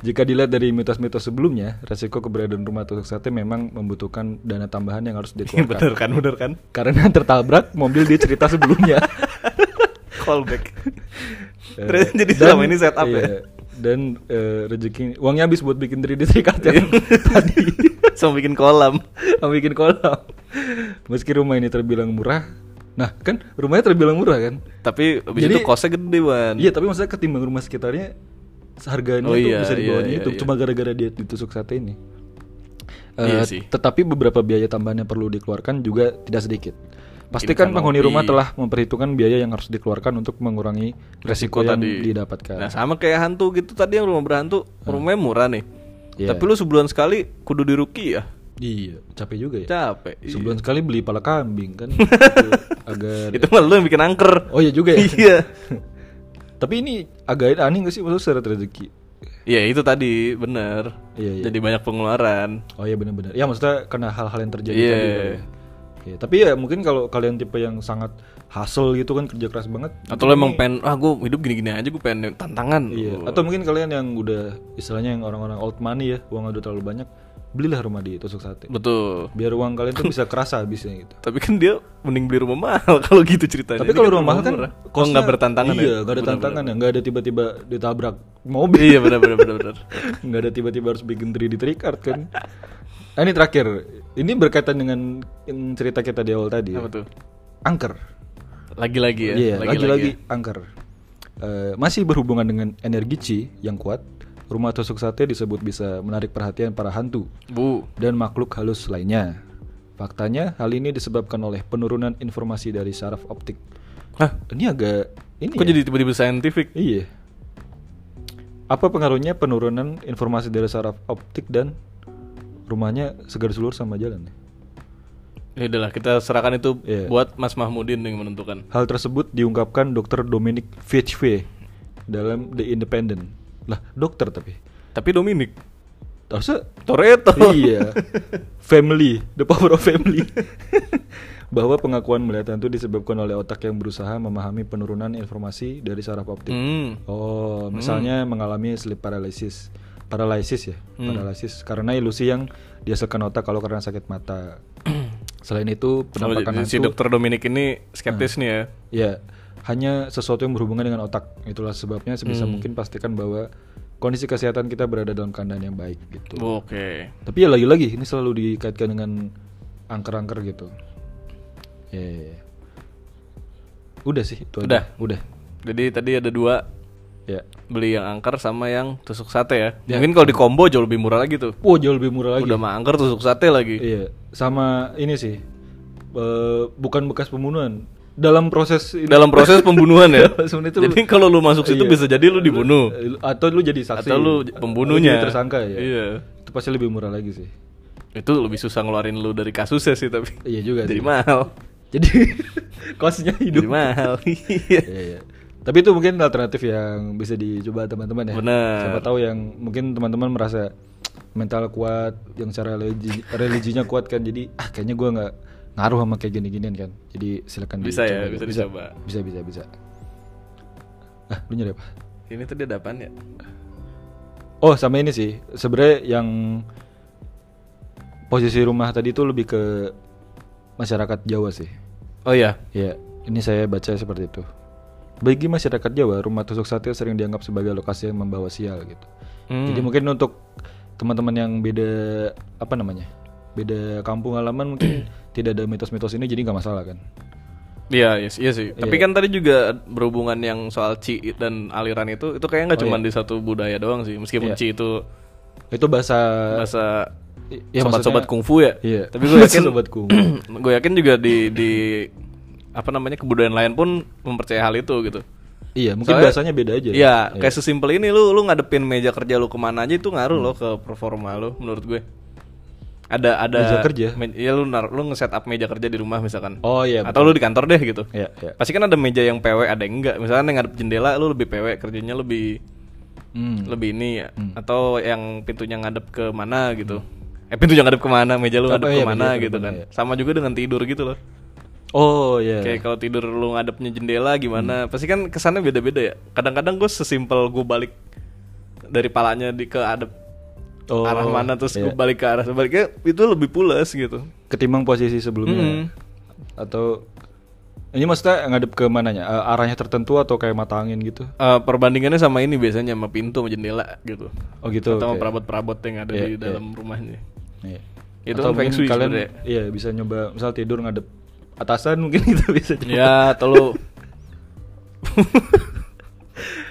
[SPEAKER 2] jika dilihat dari mitos-mitos sebelumnya resiko keberadaan rumah tusuk sate memang membutuhkan dana tambahan yang harus dikeluarkan
[SPEAKER 1] bener kan, bener kan?
[SPEAKER 2] karena tertabrak mobil dia cerita sebelumnya
[SPEAKER 1] Callback.
[SPEAKER 2] Eh,
[SPEAKER 1] Terus jadi
[SPEAKER 2] dan-
[SPEAKER 1] selama ini setup
[SPEAKER 2] iya,
[SPEAKER 1] ya.
[SPEAKER 2] dan eh, rezeki uangnya habis buat bikin 3D trikart
[SPEAKER 1] Iya.
[SPEAKER 2] yang ya. tadi
[SPEAKER 1] Sama bikin kolam.
[SPEAKER 2] yang bikin kolam meski rumah ini terbilang murah nah kan rumahnya terbilang murah kan
[SPEAKER 1] Tapi abis
[SPEAKER 2] Jadi-
[SPEAKER 1] itu kosnya gede ban.
[SPEAKER 2] Iya tapi maksudnya ketimbang rumah sekitarnya harganya
[SPEAKER 1] Oh
[SPEAKER 2] tuh
[SPEAKER 1] iya,
[SPEAKER 2] bisa di bawah
[SPEAKER 1] iya,
[SPEAKER 2] itu
[SPEAKER 1] iya,
[SPEAKER 2] cuma gara-gara dia ditusuk sate ini.
[SPEAKER 1] Iya
[SPEAKER 2] Eh,
[SPEAKER 1] sih.
[SPEAKER 2] Tetapi beberapa biaya tambahan yang perlu dikeluarkan juga tidak sedikit. Pastikan penghuni rumah telah memperhitungkan biaya yang harus dikeluarkan untuk mengurangi resiko, yang
[SPEAKER 1] tadi.
[SPEAKER 2] didapatkan.
[SPEAKER 1] Nah sama kayak hantu gitu tadi yang rumah berhantu rumahnya murah nih.
[SPEAKER 2] Iya.
[SPEAKER 1] Tapi lu sebulan sekali kudu diruki ya.
[SPEAKER 2] Iya, capek juga ya.
[SPEAKER 1] Capek. iya.
[SPEAKER 2] Sebulan sekali beli pala kambing kan Itu agak
[SPEAKER 1] Itu malah lu yang bikin angker.
[SPEAKER 2] Oh iya juga ya.
[SPEAKER 1] iya.
[SPEAKER 2] tapi ini agak aneh gak sih maksudnya syarat rezeki?
[SPEAKER 1] Iya itu tadi bener.
[SPEAKER 2] Iya, iya.
[SPEAKER 1] Jadi banyak pengeluaran.
[SPEAKER 2] Oh iya benar-benar. Ya maksudnya karena hal-hal yang terjadi
[SPEAKER 1] Iya.
[SPEAKER 2] tadi kali ya. Oke, tapi ya mungkin kalau kalian tipe yang sangat hustle gitu kan kerja keras banget.
[SPEAKER 1] Atau lu emang pengen ah gue hidup gini-gini aja gue pengen tantangan.
[SPEAKER 2] Iya. Atau mungkin kalian yang udah istilahnya yang orang-orang old money ya, uangnya udah terlalu banyak, belilah rumah di tusuk sate.
[SPEAKER 1] Betul.
[SPEAKER 2] Biar uang kalian tuh bisa kerasa habisnya gitu.
[SPEAKER 1] Tapi kan dia mending beli rumah mahal kalau gitu ceritanya.
[SPEAKER 2] Tapi
[SPEAKER 1] Ini
[SPEAKER 2] kalau rumah mahal kan
[SPEAKER 1] murah. oh,
[SPEAKER 2] kosnya-
[SPEAKER 1] nggak bertantangan
[SPEAKER 2] iya,
[SPEAKER 1] ya.
[SPEAKER 2] nggak ada tantangan ya, nggak ada tiba-tiba ditabrak mobil.
[SPEAKER 1] iya benar benar benar benar.
[SPEAKER 2] nggak ada tiba-tiba harus bikin 3D trick art kan nah, ini terakhir ini berkaitan dengan yang cerita kita di awal tadi ya.
[SPEAKER 1] Apa tuh?
[SPEAKER 2] angker
[SPEAKER 1] Lagi-lagi ya.
[SPEAKER 2] iya lagi-lagi angker Eh, masih berhubungan dengan energi chi yang kuat rumah tusuk sate disebut bisa menarik perhatian para hantu
[SPEAKER 1] Bu.
[SPEAKER 2] dan makhluk halus lainnya faktanya hal ini disebabkan oleh penurunan informasi dari saraf optik
[SPEAKER 1] Hah?
[SPEAKER 2] ini agak ini
[SPEAKER 1] Kok
[SPEAKER 2] ya?
[SPEAKER 1] jadi tiba-tiba scientific?
[SPEAKER 2] Iya. Apa pengaruhnya penurunan informasi dari saraf optik dan rumahnya segar seluruh sama jalan? ya?
[SPEAKER 1] Ya udahlah kita serahkan itu
[SPEAKER 2] Iya.
[SPEAKER 1] buat Mas Mahmudin yang menentukan.
[SPEAKER 2] Hal tersebut diungkapkan Dr. Dominic VHV dalam The Independent. Lah, dokter tapi.
[SPEAKER 1] Tapi Dominic
[SPEAKER 2] Harusnya
[SPEAKER 1] Toretto.
[SPEAKER 2] iya. Family, the power of family. Bahwa pengakuan melihat hantu disebabkan oleh otak yang berusaha memahami penurunan informasi dari saraf optik.
[SPEAKER 1] Hmm.
[SPEAKER 2] Oh, misalnya mengalami sleep paralysis. Paralisis ya,
[SPEAKER 1] Hmm.
[SPEAKER 2] paralisis karena ilusi yang dihasilkan otak kalau karena sakit mata. Selain itu,
[SPEAKER 1] Kalau
[SPEAKER 2] penampakan
[SPEAKER 1] si
[SPEAKER 2] hantu
[SPEAKER 1] dokter Dominic ini skeptis nih ya.
[SPEAKER 2] ya hanya sesuatu yang berhubungan dengan otak. Itulah sebabnya sebisa
[SPEAKER 1] Hmm.
[SPEAKER 2] mungkin pastikan bahwa kondisi kesehatan kita berada dalam keadaan yang baik gitu.
[SPEAKER 1] Oke.
[SPEAKER 2] Tapi ya lagi-lagi ini selalu dikaitkan dengan angker-angker gitu. Ya, ya, ya. Udah sih itu
[SPEAKER 1] Udah.
[SPEAKER 2] aja. Udah.
[SPEAKER 1] Jadi tadi ada dua
[SPEAKER 2] Ya.
[SPEAKER 1] beli yang angker sama yang tusuk sate ya. Mungkin kalau di combo jauh lebih murah lagi tuh.
[SPEAKER 2] Wow, jauh lebih murah lagi.
[SPEAKER 1] Udah mah angker tusuk sate lagi.
[SPEAKER 2] Iya, sama ini sih. eh, bukan bekas pembunuhan. Dalam proses ini,
[SPEAKER 1] Dalam proses pembunuhan ya.
[SPEAKER 2] Sebenarnya itu
[SPEAKER 1] Jadi kalau lu masuk situ
[SPEAKER 2] Iya.
[SPEAKER 1] bisa jadi lu dibunuh
[SPEAKER 2] eh, atau lu jadi saksi
[SPEAKER 1] atau lu
[SPEAKER 2] jadi
[SPEAKER 1] pembunuhnya.
[SPEAKER 2] tersangka ya.
[SPEAKER 1] Iya.
[SPEAKER 2] Itu pasti lebih murah lagi sih.
[SPEAKER 1] Itu lebih susah ngeluarin lu dari kasusnya sih tapi.
[SPEAKER 2] Iya juga
[SPEAKER 1] Jadi
[SPEAKER 2] sih.
[SPEAKER 1] mahal.
[SPEAKER 2] Jadi kosnya hidup.
[SPEAKER 1] Jadi mahal. Iya.
[SPEAKER 2] Iya, iya. Tapi itu mungkin alternatif yang bisa dicoba teman-teman ya.
[SPEAKER 1] Bener.
[SPEAKER 2] Siapa tahu yang mungkin teman-teman merasa mental kuat, yang secara religi, religinya kuat kan. Jadi ah kayaknya gua nggak ngaruh sama kayak gini-ginian kan. Jadi silakan
[SPEAKER 1] Bisa ya,
[SPEAKER 2] dicoba.
[SPEAKER 1] bisa dicoba.
[SPEAKER 2] Bisa bisa bisa. Ah, lu nyari apa?
[SPEAKER 1] Ini tadi ada apaan ya?
[SPEAKER 2] Oh, sama ini sih. Sebenarnya yang posisi rumah tadi itu lebih ke masyarakat Jawa sih.
[SPEAKER 1] Oh iya.
[SPEAKER 2] Ya, ini saya baca seperti itu. Bagi masyarakat Jawa, rumah tusuk sate sering dianggap sebagai lokasi yang membawa sial gitu.
[SPEAKER 1] Hmm.
[SPEAKER 2] Jadi mungkin untuk teman-teman yang beda apa namanya? Beda kampung halaman mungkin tidak ada mitos-mitos ini jadi nggak masalah kan.
[SPEAKER 1] Iya, iya, sih- iya sih. Tapi
[SPEAKER 2] Iya.
[SPEAKER 1] kan tadi juga berhubungan yang soal ci dan aliran itu, itu kayaknya nggak
[SPEAKER 2] Oh,
[SPEAKER 1] cuma
[SPEAKER 2] iya.
[SPEAKER 1] di satu budaya doang sih. Meskipun
[SPEAKER 2] Iya.
[SPEAKER 1] ci itu
[SPEAKER 2] Itu bahasa
[SPEAKER 1] bahasa
[SPEAKER 2] i- ya,
[SPEAKER 1] sobat-sobat
[SPEAKER 2] maksudnya-
[SPEAKER 1] kungfu ya.
[SPEAKER 2] Iya.
[SPEAKER 1] Tapi gue yakin
[SPEAKER 2] sobat kungfu.
[SPEAKER 1] gue Gitu. yakin juga di di apa namanya kebudayaan lain pun mempercaya hal itu gitu.
[SPEAKER 2] iya, mungkin
[SPEAKER 1] Soalnya-
[SPEAKER 2] bahasanya beda aja.
[SPEAKER 1] Iya, kayak sesimpel ini lu lu ngadepin meja kerja lu kemana aja itu ngaruh
[SPEAKER 2] Hmm.
[SPEAKER 1] lo ke performa lu menurut gue. Ada ada
[SPEAKER 2] Meja kerja?
[SPEAKER 1] me- iya lu nar, lu nge-set up meja kerja di rumah misalkan.
[SPEAKER 2] Oh iya.
[SPEAKER 1] Atau lu di kantor deh gitu.
[SPEAKER 2] Iya, iya.
[SPEAKER 1] Pasti kan ada meja yang PW, ada yang enggak. Misalnya yang ngadep jendela lu lebih PW, kerjanya lebih
[SPEAKER 2] Hmm.
[SPEAKER 1] lebih ini ya. Atau yang pintunya ngadep ke mana gitu. Eh pintunya ngadep kemana, meja lu
[SPEAKER 2] Oh,
[SPEAKER 1] ngadep
[SPEAKER 2] iya,
[SPEAKER 1] kemana
[SPEAKER 2] meja
[SPEAKER 1] gitu kan.
[SPEAKER 2] kemana,
[SPEAKER 1] Sama juga dengan tidur gitu loh.
[SPEAKER 2] Oh iya. Hmm.
[SPEAKER 1] Kayak kalau tidur lu ngadepnya jendela gimana? Pasti kan kesannya beda-beda ya. Kadang-kadang gue sesimpel gue balik dari palanya di ke adep
[SPEAKER 2] Oh,
[SPEAKER 1] arah mana terus
[SPEAKER 2] iya.
[SPEAKER 1] gue balik ke arah sebaliknya itu lebih pulas gitu.
[SPEAKER 2] ketimbang posisi sebelumnya
[SPEAKER 1] Mm.
[SPEAKER 2] atau ini maksudnya ngadep ke mananya Eh, arahnya tertentu atau kayak mata angin gitu
[SPEAKER 1] Eh, perbandingannya sama ini biasanya sama pintu sama jendela gitu.
[SPEAKER 2] oh gitu
[SPEAKER 1] Atau sama
[SPEAKER 2] oke.
[SPEAKER 1] perabot-perabot yang ada
[SPEAKER 2] Iya,
[SPEAKER 1] di
[SPEAKER 2] iya.
[SPEAKER 1] dalam rumahnya.
[SPEAKER 2] Iya.
[SPEAKER 1] Itu kan
[SPEAKER 2] atau
[SPEAKER 1] feng
[SPEAKER 2] mungkin
[SPEAKER 1] shui
[SPEAKER 2] kalian
[SPEAKER 1] sebenarnya.
[SPEAKER 2] iya bisa nyoba misal tidur ngadep atasan mungkin gitu kita bisa coba.
[SPEAKER 1] ya, atau lu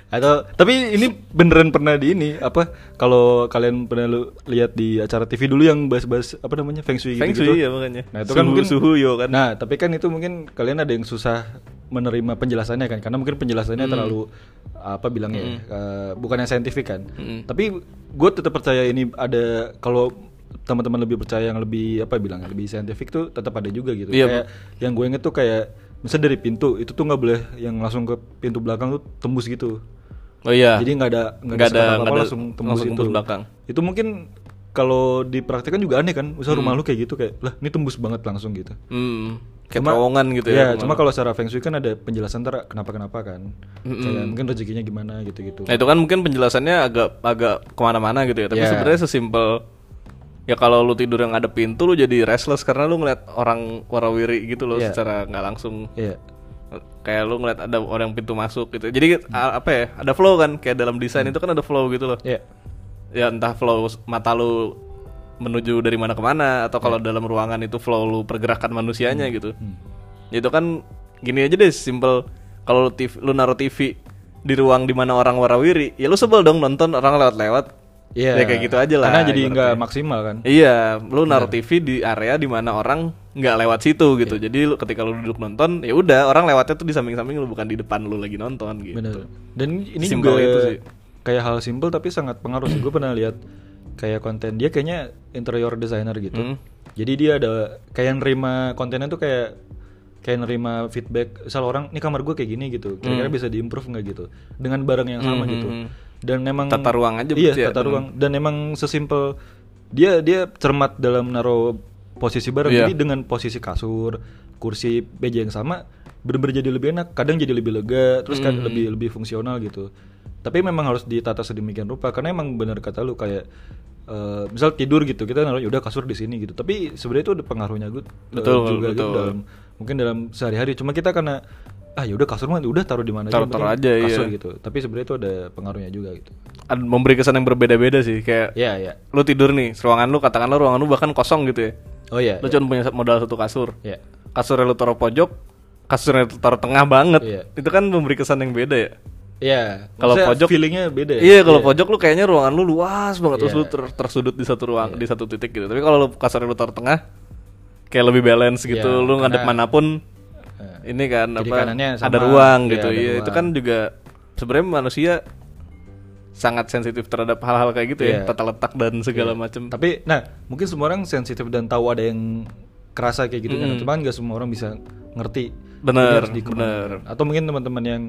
[SPEAKER 2] atau tapi ini beneran pernah di ini apa kalau kalian pernah lu lihat di acara TV dulu yang bahas-bahas apa namanya feng shui
[SPEAKER 1] feng
[SPEAKER 2] gitu-gitu.
[SPEAKER 1] shui ya makanya.
[SPEAKER 2] Nah, itu
[SPEAKER 1] Suhu-
[SPEAKER 2] kan mungkin
[SPEAKER 1] suhu yo kan.
[SPEAKER 2] Nah, tapi kan itu mungkin kalian ada yang susah menerima penjelasannya kan karena mungkin
[SPEAKER 1] Hmm.
[SPEAKER 2] penjelasannya terlalu apa bilangnya ya, eh, bukannya saintifik kan.
[SPEAKER 1] Hmm.
[SPEAKER 2] Tapi gue tetap percaya ini ada kalau teman-teman lebih percaya yang lebih apa bilangnya lebih saintifik tuh tetap ada juga gitu.
[SPEAKER 1] Iya,
[SPEAKER 2] Kayak yang gue inget tuh kayak misalnya dari pintu itu tuh nggak boleh yang langsung ke pintu belakang tuh tembus gitu.
[SPEAKER 1] Oh iya.
[SPEAKER 2] Jadi nggak ada
[SPEAKER 1] Nggak ada-
[SPEAKER 2] sekat
[SPEAKER 1] nggak ada-
[SPEAKER 2] langsung tembus
[SPEAKER 1] langsung
[SPEAKER 2] itu.
[SPEAKER 1] tembus belakang.
[SPEAKER 2] Itu mungkin kalau dipraktikkan juga aneh kan. Misal rumah lu kayak gitu kayak lah ini tembus banget langsung gitu.
[SPEAKER 1] Hmm, kayak terowongan gitu ya.
[SPEAKER 2] Iya,
[SPEAKER 1] rumah
[SPEAKER 2] cuma
[SPEAKER 1] lu.
[SPEAKER 2] kalau secara feng shui kan ada penjelasan ntar kenapa-kenapa kan.
[SPEAKER 1] Hmm.
[SPEAKER 2] Kayak mungkin rezekinya gimana gitu-gitu.
[SPEAKER 1] Nah itu kan mungkin penjelasannya agak agak kemana-mana gitu ya. Tapi
[SPEAKER 2] Iya.
[SPEAKER 1] sebenarnya sesimpel ya kalau lu tidur yang ada pintu lu jadi restless karena lu ngeliat orang warawiri gitu loh
[SPEAKER 2] Iya.
[SPEAKER 1] secara nggak langsung
[SPEAKER 2] Iya.
[SPEAKER 1] kayak lu ngeliat ada orang pintu masuk gitu. Jadi a- apa ya ada flow kan kayak dalam desain itu kan ada flow gitu loh.
[SPEAKER 2] Iya.
[SPEAKER 1] Ya entah flow s- mata lu menuju dari mana ke mana atau
[SPEAKER 2] Ya.
[SPEAKER 1] kalau dalam ruangan itu flow lu pergerakan
[SPEAKER 2] Hmm.
[SPEAKER 1] manusianya gitu. Itu kan gini aja deh simple kalau lu, TV lu naruh TV di ruang dimana orang warawiri, ya lu sebel dong nonton orang lewat-lewat.
[SPEAKER 2] Iya.
[SPEAKER 1] Ya kayak gitu aja lah.
[SPEAKER 2] Karena jadi nggak
[SPEAKER 1] ibaratnya.
[SPEAKER 2] maksimal kan.
[SPEAKER 1] Iya, lu naruh TV di area dimana orang nggak lewat situ gitu.
[SPEAKER 2] Iya.
[SPEAKER 1] Jadi lu ketika lu duduk nonton, ya udah orang lewatnya tuh di samping-samping lu bukan di depan lu lagi nonton gitu.
[SPEAKER 2] Bener. Dan ini
[SPEAKER 1] Simpel
[SPEAKER 2] juga
[SPEAKER 1] itu sih.
[SPEAKER 2] kayak hal simpel tapi sangat pengaruh. gue pernah lihat kayak konten dia kayaknya interior designer gitu.
[SPEAKER 1] Hmm.
[SPEAKER 2] Jadi dia ada kayak nerima kontennya tuh kayak kayak nerima feedback misal orang ini kamar gue kayak gini gitu. Kira-kira
[SPEAKER 1] Hmm.
[SPEAKER 2] bisa diimprove nggak gitu dengan barang yang sama gitu. Dan memang
[SPEAKER 1] Tata ruang aja
[SPEAKER 2] Iya,
[SPEAKER 1] berarti ya, dengan-
[SPEAKER 2] tata ruang dan emang sesimpel dia dia cermat dalam naruh posisi barang.
[SPEAKER 1] Iya.
[SPEAKER 2] Jadi dengan posisi kasur, kursi, meja yang sama bener-bener jadi lebih enak, kadang jadi lebih lega, terus
[SPEAKER 1] Hmm.
[SPEAKER 2] kan lebih lebih fungsional gitu. Tapi memang harus ditata sedemikian rupa karena emang bener kata lu kayak eh, misal tidur gitu, kita naruh udah kasur di sini gitu. Tapi sebenarnya itu ada pengaruhnya gue
[SPEAKER 1] Betul,
[SPEAKER 2] juga gitu
[SPEAKER 1] betul.
[SPEAKER 2] dalam mungkin dalam sehari-hari. Cuma kita karena ah ya udah kasur mah udah taruh di mana yang
[SPEAKER 1] Taruh-taruh
[SPEAKER 2] penting
[SPEAKER 1] aja,
[SPEAKER 2] kasur
[SPEAKER 1] iya.
[SPEAKER 2] gitu. Tapi sebenarnya itu ada pengaruhnya juga gitu.
[SPEAKER 1] Ad- Memberi kesan yang berbeda-beda sih kayak
[SPEAKER 2] Iya, iya.
[SPEAKER 1] lu tidur nih, ruangan lu katakanlah ruangan lu bahkan kosong gitu ya.
[SPEAKER 2] Oh iya.
[SPEAKER 1] Lu cuma punya modal satu kasur.
[SPEAKER 2] Iya.
[SPEAKER 1] Kasurnya lu taruh pojok, kasurnya lu taruh tengah banget.
[SPEAKER 2] Iya.
[SPEAKER 1] Itu kan memberi kesan yang beda ya.
[SPEAKER 2] Iya.
[SPEAKER 1] Kalau
[SPEAKER 2] Maksudnya
[SPEAKER 1] pojok-
[SPEAKER 2] feelingnya beda. ya?
[SPEAKER 1] Iya, kalau pojok lu kayaknya ruangan lu luas banget terus
[SPEAKER 2] Iya.
[SPEAKER 1] lu ter- tersudut di satu ruang di satu titik gitu. Tapi kalau lu kasarnya lu taruh tengah kayak lebih balance gitu.
[SPEAKER 2] Iya,
[SPEAKER 1] lu ngadep
[SPEAKER 2] karena-
[SPEAKER 1] manapun
[SPEAKER 2] Nah,
[SPEAKER 1] ini kan apa
[SPEAKER 2] Kiri kanannya
[SPEAKER 1] ada
[SPEAKER 2] sama.
[SPEAKER 1] ruang
[SPEAKER 2] Iya,
[SPEAKER 1] gitu.
[SPEAKER 2] ada
[SPEAKER 1] Iya, itu
[SPEAKER 2] ruang.
[SPEAKER 1] kan juga sebenarnya manusia sangat sensitif terhadap hal-hal kayak gitu ya
[SPEAKER 2] Iya.
[SPEAKER 1] tata letak dan segala macam
[SPEAKER 2] Tapi nah, mungkin semua orang sensitif dan tahu ada yang kerasa kayak gitu kan.
[SPEAKER 1] Mm-mm.
[SPEAKER 2] Cuman nggak semua orang bisa ngerti. Jadi
[SPEAKER 1] Bener,
[SPEAKER 2] harus dikembangkan.
[SPEAKER 1] bener.
[SPEAKER 2] Atau mungkin teman-teman yang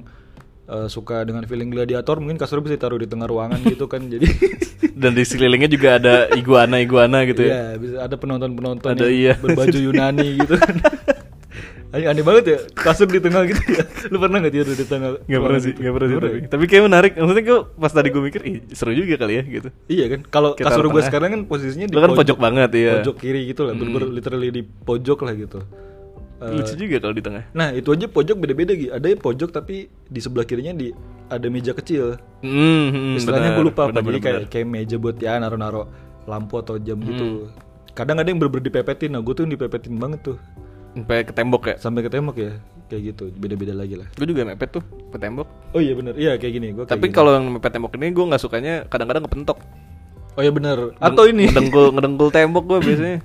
[SPEAKER 2] eh, suka dengan feeling gladiator mungkin kasurnya bisa ditaruh di tengah ruangan gitu kan. Jadi
[SPEAKER 1] dan di sekelilingnya juga ada iguana iguana gitu ya
[SPEAKER 2] Iya, bisa ada penonton-penonton
[SPEAKER 1] Ada,
[SPEAKER 2] yang
[SPEAKER 1] iya.
[SPEAKER 2] berbaju Yunani gitu kan. Aneh, aneh banget ya kasur di tengah gitu ya. Lu pernah nggak tidur di tengah?
[SPEAKER 1] nggak pernah
[SPEAKER 2] ruangan
[SPEAKER 1] sih
[SPEAKER 2] gitu?
[SPEAKER 1] nggak pernah sih
[SPEAKER 2] Pernah
[SPEAKER 1] tapi,
[SPEAKER 2] ya?
[SPEAKER 1] tapi kayaknya menarik maksudnya gue pas tadi gue mikir Ih, seru juga kali ya gitu
[SPEAKER 2] Iya kan, kalau
[SPEAKER 1] Kita
[SPEAKER 2] kasur gue
[SPEAKER 1] tengah.
[SPEAKER 2] sekarang kan posisinya di
[SPEAKER 1] Lu kan pojok banget, iya.
[SPEAKER 2] Pojok kiri gitu lah, bener literally di pojok lah gitu. Eh,
[SPEAKER 1] lucu juga kalau di tengah
[SPEAKER 2] Nah itu aja pojok beda-beda gitu. Ada yang pojok tapi di sebelah kirinya di ada meja kecil.
[SPEAKER 1] Hmm, hmm,
[SPEAKER 2] Istilahnya gue
[SPEAKER 1] benar,
[SPEAKER 2] lupa apa
[SPEAKER 1] benar,
[SPEAKER 2] jadi
[SPEAKER 1] benar,
[SPEAKER 2] kayak, kayak meja buat ya naro-naro lampu atau jam gitu. Kadang ada yang berber dipepetin, nah gue tuh yang dipepetin banget tuh
[SPEAKER 1] benar. sampai ke tembok ya
[SPEAKER 2] sampai ke tembok ya kayak gitu beda-beda lagi lah.
[SPEAKER 1] gue juga mepet tuh ke tembok
[SPEAKER 2] Oh iya bener, iya kayak gini. Gua kayak
[SPEAKER 1] tapi
[SPEAKER 2] gini.
[SPEAKER 1] kalau yang mepet tembok ini gue nggak sukanya kadang-kadang kepentok
[SPEAKER 2] oh iya bener atau
[SPEAKER 1] Ngedeng-
[SPEAKER 2] ini
[SPEAKER 1] ngedengkul ngedengkul tembok gue biasanya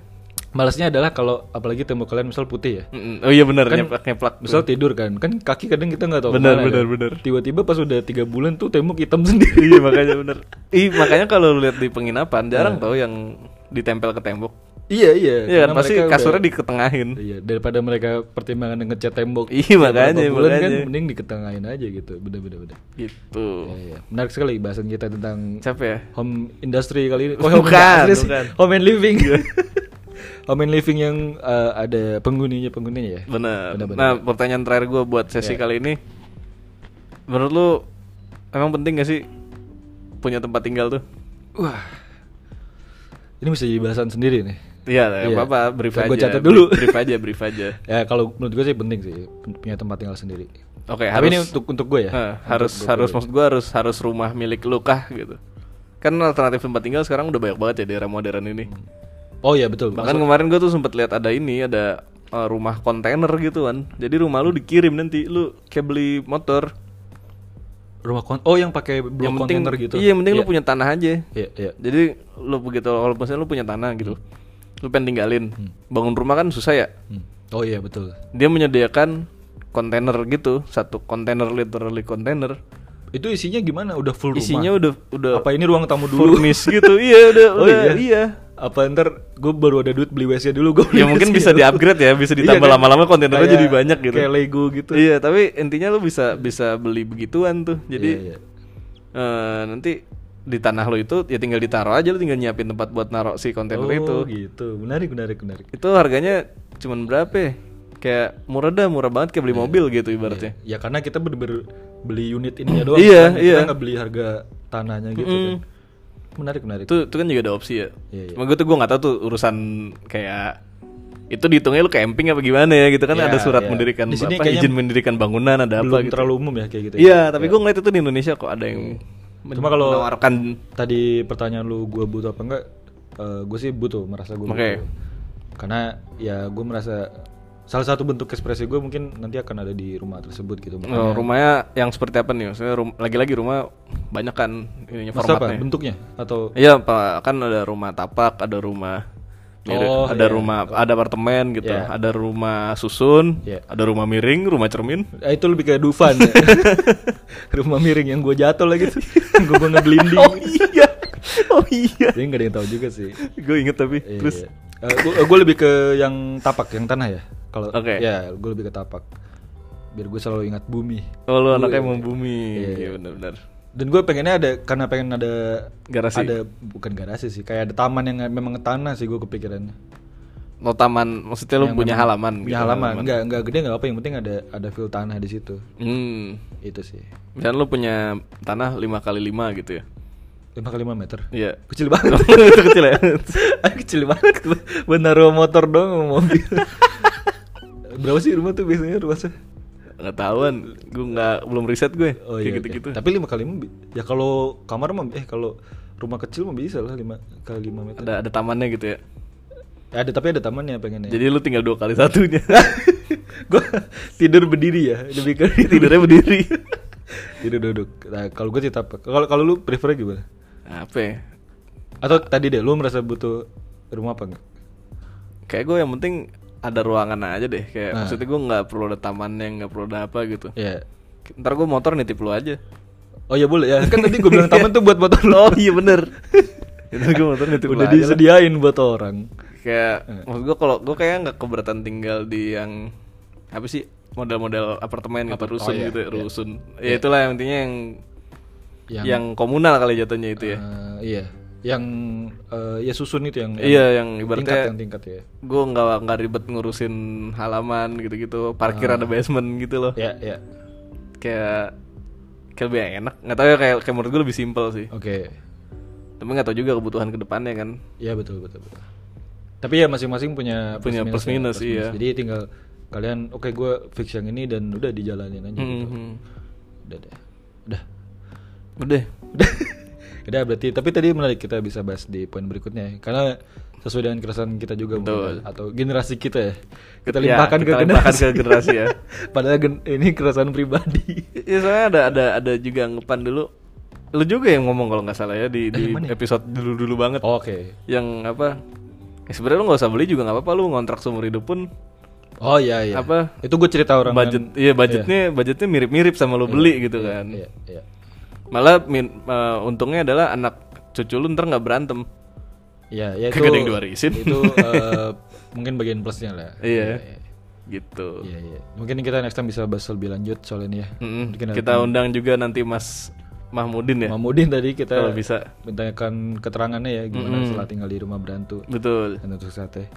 [SPEAKER 2] malasnya adalah kalau apalagi tembok kalian misal putih ya.
[SPEAKER 1] Mm-mm. oh iya benar nyeplak nyeplak
[SPEAKER 2] Misal tidur kan, kan kaki kadang kita nggak tahu.
[SPEAKER 1] Benar,
[SPEAKER 2] kemana
[SPEAKER 1] benar,
[SPEAKER 2] kan.
[SPEAKER 1] benar.
[SPEAKER 2] Tiba-tiba pas udah tiga bulan tuh tembok hitam sendiri.
[SPEAKER 1] iya makanya bener Ih makanya kalau lu lihat di penginapan jarang tau yang ditempel ke tembok
[SPEAKER 2] iya iya.
[SPEAKER 1] Iya kan
[SPEAKER 2] karena
[SPEAKER 1] pasti
[SPEAKER 2] mereka udah-
[SPEAKER 1] kasurnya diketengahin
[SPEAKER 2] Iya, daripada mereka pertimbangan ngecat tembok.
[SPEAKER 1] Iya,
[SPEAKER 2] tiap berapa
[SPEAKER 1] makanya,
[SPEAKER 2] bulan kan
[SPEAKER 1] makanya.
[SPEAKER 2] mending diketengahin aja gitu. Bener bener bener. Iya,
[SPEAKER 1] Gitu
[SPEAKER 2] iya. Menarik sekali bahasan kita tentang
[SPEAKER 1] Capek ya?
[SPEAKER 2] home industry kali ini.
[SPEAKER 1] Bukan,
[SPEAKER 2] home industry sih.
[SPEAKER 1] bukan. Iya.
[SPEAKER 2] Home and living. home and living yang eh, ada penghuninya penghuninya ya.
[SPEAKER 1] Bener.
[SPEAKER 2] Bener, Iya. bener.
[SPEAKER 1] Nah pertanyaan terakhir gue buat sesi kali ini Menurut lu emang penting gak sih punya tempat tinggal tuh?
[SPEAKER 2] Wah. Ini bisa jadi bahasan sendiri nih.
[SPEAKER 1] Iya, nggak
[SPEAKER 2] Iya.
[SPEAKER 1] apa-apa, brief
[SPEAKER 2] Ntar
[SPEAKER 1] aja.
[SPEAKER 2] gua catat dulu.
[SPEAKER 1] Brief, brief aja, brief aja.
[SPEAKER 2] Ya kalau menurut gue sih penting sih punya tempat tinggal sendiri.
[SPEAKER 1] Oke,
[SPEAKER 2] Tapi
[SPEAKER 1] harus
[SPEAKER 2] ini untuk untuk gue ya.
[SPEAKER 1] Eh, harus harus maksud gua harus harus rumah milik lu kah gitu. Kan alternatif tempat tinggal sekarang udah banyak banget ya daerah modern ini.
[SPEAKER 2] Oh iya betul.
[SPEAKER 1] Bahkan Kan kemarin gua tuh sempet lihat ada ini ada eh, rumah kontainer gitu kan. Jadi rumah lu dikirim nanti lu kayak beli motor.
[SPEAKER 2] rumah kon oh yang pakai blok
[SPEAKER 1] yang penting
[SPEAKER 2] kontainer gitu.
[SPEAKER 1] Iya, yang penting lu punya tanah aja.
[SPEAKER 2] Iya, iya.
[SPEAKER 1] Jadi lu begitu kalau misalnya lu punya tanah gitu. Lu pengen tinggalin. Bangun rumah kan susah ya.
[SPEAKER 2] Hmm. Oh iya betul.
[SPEAKER 1] Dia menyediakan kontainer gitu, satu kontainer literally kontainer.
[SPEAKER 2] Itu isinya gimana? Udah full
[SPEAKER 1] Isinya
[SPEAKER 2] rumah.
[SPEAKER 1] udah udah
[SPEAKER 2] Apa ini ruang tamu dulu?
[SPEAKER 1] furnish gitu. Iya, udah
[SPEAKER 2] Oh
[SPEAKER 1] udah
[SPEAKER 2] iya?
[SPEAKER 1] iya.
[SPEAKER 2] Apa ntar gue baru ada duit beli WC dulu gue.
[SPEAKER 1] Ya mungkin bisa di-upgrade ya, bisa ditambah lama-lama kontainernya jadi banyak gitu.
[SPEAKER 2] gitu. Iya, Kayak Lego gitu.
[SPEAKER 1] Iya, tapi intinya lu bisa bisa beli begituan tuh. Jadi
[SPEAKER 2] Iya, iya.
[SPEAKER 1] eh, nanti di tanah lo itu ya tinggal ditaruh aja lu tinggal nyiapin tempat buat naruh si kontainer itu.
[SPEAKER 2] Oh gitu. Menarik, menarik, menarik.
[SPEAKER 1] Itu harganya cuman berapa ya? Kayak murah dah, murah banget
[SPEAKER 2] Iya.
[SPEAKER 1] kayak beli mobil gitu ibaratnya.
[SPEAKER 2] Ya karena kita bener-bener beli unit ininya doang.
[SPEAKER 1] Iya,
[SPEAKER 2] kan?
[SPEAKER 1] iya.
[SPEAKER 2] Kita nggak beli harga tanahnya gitu kan. Menarik, menarik.
[SPEAKER 1] Itu itu kan juga ada opsi ya.
[SPEAKER 2] Iya, iya.
[SPEAKER 1] Cuma gue tuh gue nggak tahu tuh urusan kayak itu dihitungnya lu camping apa gimana ya gitu kan
[SPEAKER 2] Iya,
[SPEAKER 1] ada surat
[SPEAKER 2] iya.
[SPEAKER 1] mendirikan
[SPEAKER 2] Di sini
[SPEAKER 1] apa
[SPEAKER 2] kayaknya
[SPEAKER 1] izin mendirikan bangunan ada apa
[SPEAKER 2] Belum
[SPEAKER 1] gitu.
[SPEAKER 2] terlalu umum ya kayak gitu. ya.
[SPEAKER 1] Iya, tapi gue ngeliat itu di Indonesia kok ada yang men-
[SPEAKER 2] Cuma kalau-
[SPEAKER 1] menawarkan
[SPEAKER 2] Tadi pertanyaan lu gue butuh apa enggak? gue sih butuh, merasa gue
[SPEAKER 1] Oke.
[SPEAKER 2] butuh. Karena ya gue merasa salah satu bentuk ekspresi gue mungkin nanti akan ada di rumah tersebut gitu.
[SPEAKER 1] eh, rumahnya yang seperti apa nih? Maksudnya rum- lagi-lagi rumah banyak kan ininya
[SPEAKER 2] Maksud apa?
[SPEAKER 1] formatnya.
[SPEAKER 2] Bentuknya atau
[SPEAKER 1] Iya, Pak, kan ada rumah tapak, ada rumah miring,
[SPEAKER 2] Oh,
[SPEAKER 1] ada
[SPEAKER 2] iya.
[SPEAKER 1] rumah ada apartemen gitu,
[SPEAKER 2] Iya.
[SPEAKER 1] ada rumah susun,
[SPEAKER 2] Iya.
[SPEAKER 1] ada rumah miring, rumah cermin.
[SPEAKER 2] Ah, itu lebih kayak Dufan ya. rumah miring yang gue jatuh lagi tuh. gue banget blinding.
[SPEAKER 1] Oh iya. Oh iya.
[SPEAKER 2] Jadi nggak ada yang tahu juga sih. Iya. Eh,
[SPEAKER 1] Gue inget tapi terus
[SPEAKER 2] Terus gue lebih ke yang tapak, yang tanah ya. Kalau
[SPEAKER 1] Oke.
[SPEAKER 2] ya gue lebih ke tapak. Biar gue selalu ingat bumi.
[SPEAKER 1] oh lu anaknya mau bumi.
[SPEAKER 2] Iya,
[SPEAKER 1] Iya,
[SPEAKER 2] iya.
[SPEAKER 1] benar-benar.
[SPEAKER 2] Dan gue pengennya ada karena pengen ada
[SPEAKER 1] Garasi.
[SPEAKER 2] Ada bukan garasi sih, kayak ada taman yang memang tanah sih gue kepikirannya.
[SPEAKER 1] Lo taman, maksudnya lu
[SPEAKER 2] Yang
[SPEAKER 1] punya
[SPEAKER 2] memang-
[SPEAKER 1] halaman
[SPEAKER 2] Punya halaman, nggak nggak gede nggak apa yang penting ada ada feel tanah di situ.
[SPEAKER 1] Hmm.
[SPEAKER 2] Itu sih.
[SPEAKER 1] Misalnya lu punya tanah 5 kali 5 gitu ya.
[SPEAKER 2] 5 kali 5 meter.
[SPEAKER 1] Iya.
[SPEAKER 2] Kecil banget.
[SPEAKER 1] Itu kecil ya.
[SPEAKER 2] Aduh, kecil banget. Buat naruh motor dong sama mobil. Berapa sih rumah tuh biasanya rumah saya?
[SPEAKER 1] Enggak tahuan, gue nggak belum riset gue. Kayak
[SPEAKER 2] Oh iya, oke.
[SPEAKER 1] gitu-gitu.
[SPEAKER 2] Tapi 5 kali 5 ya kalau kamar mah eh kalau rumah kecil mah bisa lah 5 kali 5 meter. Eh,
[SPEAKER 1] Ada ada tamannya gitu ya.
[SPEAKER 2] Ada tapi ada tamannya pengennya.
[SPEAKER 1] Jadi lu tinggal dua kali satunya.
[SPEAKER 2] gue tidur berdiri ya lebih ke
[SPEAKER 1] Tidurnya berdiri.
[SPEAKER 2] tidur duduk nah, kalau gue cerita apa kalau kalau lu prefer gimana
[SPEAKER 1] Apa ya?
[SPEAKER 2] atau tadi deh lu merasa butuh rumah apa enggak
[SPEAKER 1] Kayak gue yang penting ada ruangan aja deh. Kayak
[SPEAKER 2] Nah.
[SPEAKER 1] maksudnya gue nggak perlu ada tamannya, nggak perlu ada apa gitu.
[SPEAKER 2] ya
[SPEAKER 1] Ntar gue motor nitip lu aja.
[SPEAKER 2] Oh iya boleh ya. Kan tadi gue bilang taman tuh buat buat
[SPEAKER 1] Oh
[SPEAKER 2] orang.
[SPEAKER 1] iya bener Itu gue motor nitip
[SPEAKER 2] Udah
[SPEAKER 1] aja lah.
[SPEAKER 2] disediain buat orang.
[SPEAKER 1] Kayak
[SPEAKER 2] Eh.
[SPEAKER 1] maksud gue kalau gue kayak nggak keberatan tinggal di yang apa sih model-model apartemen gitu
[SPEAKER 2] Apart- oh,
[SPEAKER 1] rusun
[SPEAKER 2] iya,
[SPEAKER 1] gitu
[SPEAKER 2] iya.
[SPEAKER 1] rusun. Ya
[SPEAKER 2] Iya.
[SPEAKER 1] itulah yang intinya yang yang, komunal kali jatuhnya itu ya.
[SPEAKER 2] eh, iya. Yang eh, ya susun itu yang,
[SPEAKER 1] Iya, yang ibaratnya-
[SPEAKER 2] tingkat yang tingkat ya.
[SPEAKER 1] Gue nggak nggak ribet ngurusin halaman gitu-gitu, parkir
[SPEAKER 2] Ah.
[SPEAKER 1] ada basement gitu loh.
[SPEAKER 2] Ya, ya.
[SPEAKER 1] Kayak kayak lebih enak. Nggak tahu ya kayak, kayak menurut gue lebih simpel sih.
[SPEAKER 2] Oke.
[SPEAKER 1] Tapi nggak tahu juga kebutuhan kedepannya kan.
[SPEAKER 2] Iya betul betul betul. Tapi ya masing-masing punya
[SPEAKER 1] Punya plus
[SPEAKER 2] minusnya,
[SPEAKER 1] minus, iya.
[SPEAKER 2] Jadi tinggal kalian oke gue fix yang ini dan udah dijalanin aja gitu.
[SPEAKER 1] Mhm.
[SPEAKER 2] Udah deh. Udah.
[SPEAKER 1] Udah.
[SPEAKER 2] Udah. Udah berarti tapi tadi menarik kita bisa bahas di poin berikutnya ya. karena sesuai dengan keresahan kita juga mungkin ya. atau generasi kita ya. Kita
[SPEAKER 1] Ya,
[SPEAKER 2] limpahkan
[SPEAKER 1] kita
[SPEAKER 2] ke
[SPEAKER 1] limpahkan
[SPEAKER 2] generasi.
[SPEAKER 1] ke generasi ya.
[SPEAKER 2] Padahal gen- ini keresahan pribadi.
[SPEAKER 1] Iya soalnya ada ada ada juga anggapan dulu. Lu juga yang ngomong kalau nggak salah ya di, di episode dulu dulu banget.
[SPEAKER 2] Oke.
[SPEAKER 1] Yang apa? Eh, sebenarnya lu nggak usah beli juga nggak apa-apa lu ngontrak seumur hidup pun
[SPEAKER 2] Oh iya iya.
[SPEAKER 1] Apa?
[SPEAKER 2] Itu gue cerita orang
[SPEAKER 1] budget
[SPEAKER 2] yang-
[SPEAKER 1] iya budgetnya budgetnya mirip-mirip sama lu beli gitu kan.
[SPEAKER 2] Iya, iya.
[SPEAKER 1] Malah min- eh, untungnya adalah anak cucu lu ntar nggak berantem.
[SPEAKER 2] Iya, ya itu.
[SPEAKER 1] Kagak ada yang diwarisin.
[SPEAKER 2] Itu eh, mungkin bagian plusnya lah.
[SPEAKER 1] Iya. Gitu.
[SPEAKER 2] Iya, iya. Mungkin kita next time bisa bahas lebih lanjut soal ini ya.
[SPEAKER 1] Mm-mm.
[SPEAKER 2] Mungkin ada
[SPEAKER 1] Kita undang juga nanti Mas Mahmudin ya.
[SPEAKER 2] Mamudin tadi kita
[SPEAKER 1] Kalau bisa.
[SPEAKER 2] mintakan keterangannya ya gimana setelah tinggal di rumah berhantu
[SPEAKER 1] Betul.
[SPEAKER 2] dan untuk sate.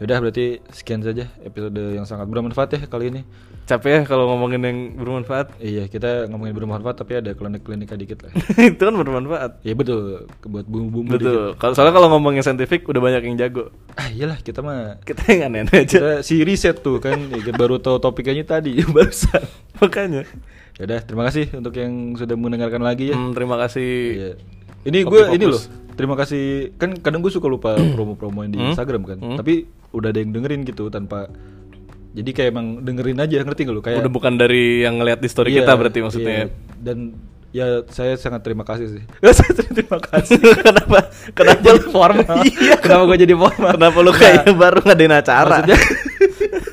[SPEAKER 2] Yaudah berarti sekian saja episode yang sangat bermanfaat ya kali ini.
[SPEAKER 1] Capek ya kalau ngomongin yang bermanfaat.
[SPEAKER 2] Iya, kita ngomongin bermanfaat tapi ada klinik-klinika dikit lah.
[SPEAKER 1] Itu kan bermanfaat.
[SPEAKER 2] Iya betul, buat bumbu-bumbu dikit.
[SPEAKER 1] Betul. Kalau soalnya kalau ngomongin saintifik udah banyak yang jago.
[SPEAKER 2] Ah iyalah kita mah
[SPEAKER 1] Kita yang aneh aja
[SPEAKER 2] kita si riset tuh kan ya, baru tahu topiknya tadi barusan.
[SPEAKER 1] makanya.
[SPEAKER 2] Yaudah, terima kasih untuk yang sudah mendengarkan lagi ya.
[SPEAKER 1] Hmm, terima kasih.
[SPEAKER 2] Iya. Ini
[SPEAKER 1] Oke,
[SPEAKER 2] gue ini
[SPEAKER 1] fokus. Hmm?
[SPEAKER 2] loh. Terima kasih. Kan kadang gue suka lupa promo-promoin di Instagram kan. Tapi udah ada yang dengerin gitu tanpa. Jadi kayak emang dengerin aja ngerti gak lu kayak.
[SPEAKER 1] Udah bukan dari yang ngeliat di story
[SPEAKER 2] Iya,
[SPEAKER 1] kita berarti maksudnya. ya.
[SPEAKER 2] iya. Dan ya saya sangat terima kasih sih. saya terima kasih.
[SPEAKER 1] kenapa? Kenapa lu formal?
[SPEAKER 2] Iya. Kenapa gue jadi formal?
[SPEAKER 1] kenapa lu kayak baru ngadain acara?
[SPEAKER 2] Maksudnya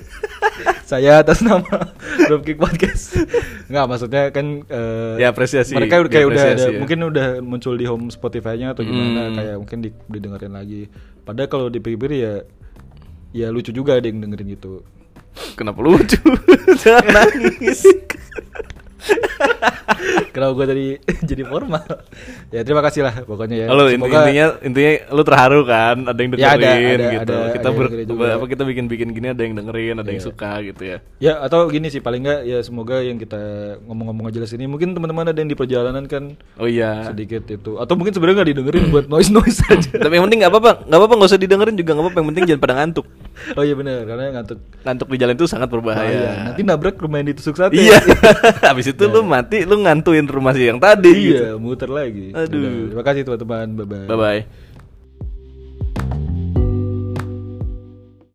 [SPEAKER 2] saya atas nama Dropkick Podcast. Enggak, maksudnya kan eh,
[SPEAKER 1] Ya, apresiasi.
[SPEAKER 2] Mereka udah kayak udah ada,
[SPEAKER 1] Diapresiasi, ya.
[SPEAKER 2] mungkin udah muncul di home Spotify-nya atau gimana
[SPEAKER 1] Hmm.
[SPEAKER 2] kayak mungkin di, didengerin lagi. Padahal kalau dipikir ya ya lucu juga ada yang dengerin gitu.
[SPEAKER 1] Kenapa lucu? Jangan nangis.
[SPEAKER 2] Kalau gue tadi jadi formal. Ya terima kasih lah pokoknya ya.
[SPEAKER 1] Halo, inti- intinya intinya lu terharu kan ada yang
[SPEAKER 2] Ya,
[SPEAKER 1] dengerin
[SPEAKER 2] ada- ada-
[SPEAKER 1] gitu.
[SPEAKER 2] ada-
[SPEAKER 1] kita
[SPEAKER 2] ada yang
[SPEAKER 1] ber-
[SPEAKER 2] dengerin juga.
[SPEAKER 1] apa kita bikin-bikin gini ada yang dengerin, ada yang suka gitu ya.
[SPEAKER 2] Ya atau gini sih paling nggak ya semoga yang kita ngomong-ngomong aja jelas ini mungkin teman-teman ada yang di perjalanan kan
[SPEAKER 1] Oh iya.
[SPEAKER 2] sedikit itu atau mungkin sebenarnya nggak didengerin buat noise noise aja.
[SPEAKER 1] Tapi yang penting nggak apa-apa, nggak apa-apa nggak usah didengerin juga nggak apa-apa. Yang penting jangan pada ngantuk.
[SPEAKER 2] Oh iya benar karena ngantuk
[SPEAKER 1] Ngantuk di jalan itu sangat
[SPEAKER 2] bahaya.
[SPEAKER 1] berbahaya.
[SPEAKER 2] Nanti nabrak rumah yang ditusuk sate.
[SPEAKER 1] Ah, Iya. Habis itu lu mati, lu ngantuin rumah si yang tadi. gitu.
[SPEAKER 2] iya, muter lagi.
[SPEAKER 1] Aduh.
[SPEAKER 2] Udah, terima kasih teman-teman. Bye bye.
[SPEAKER 1] Bye bye.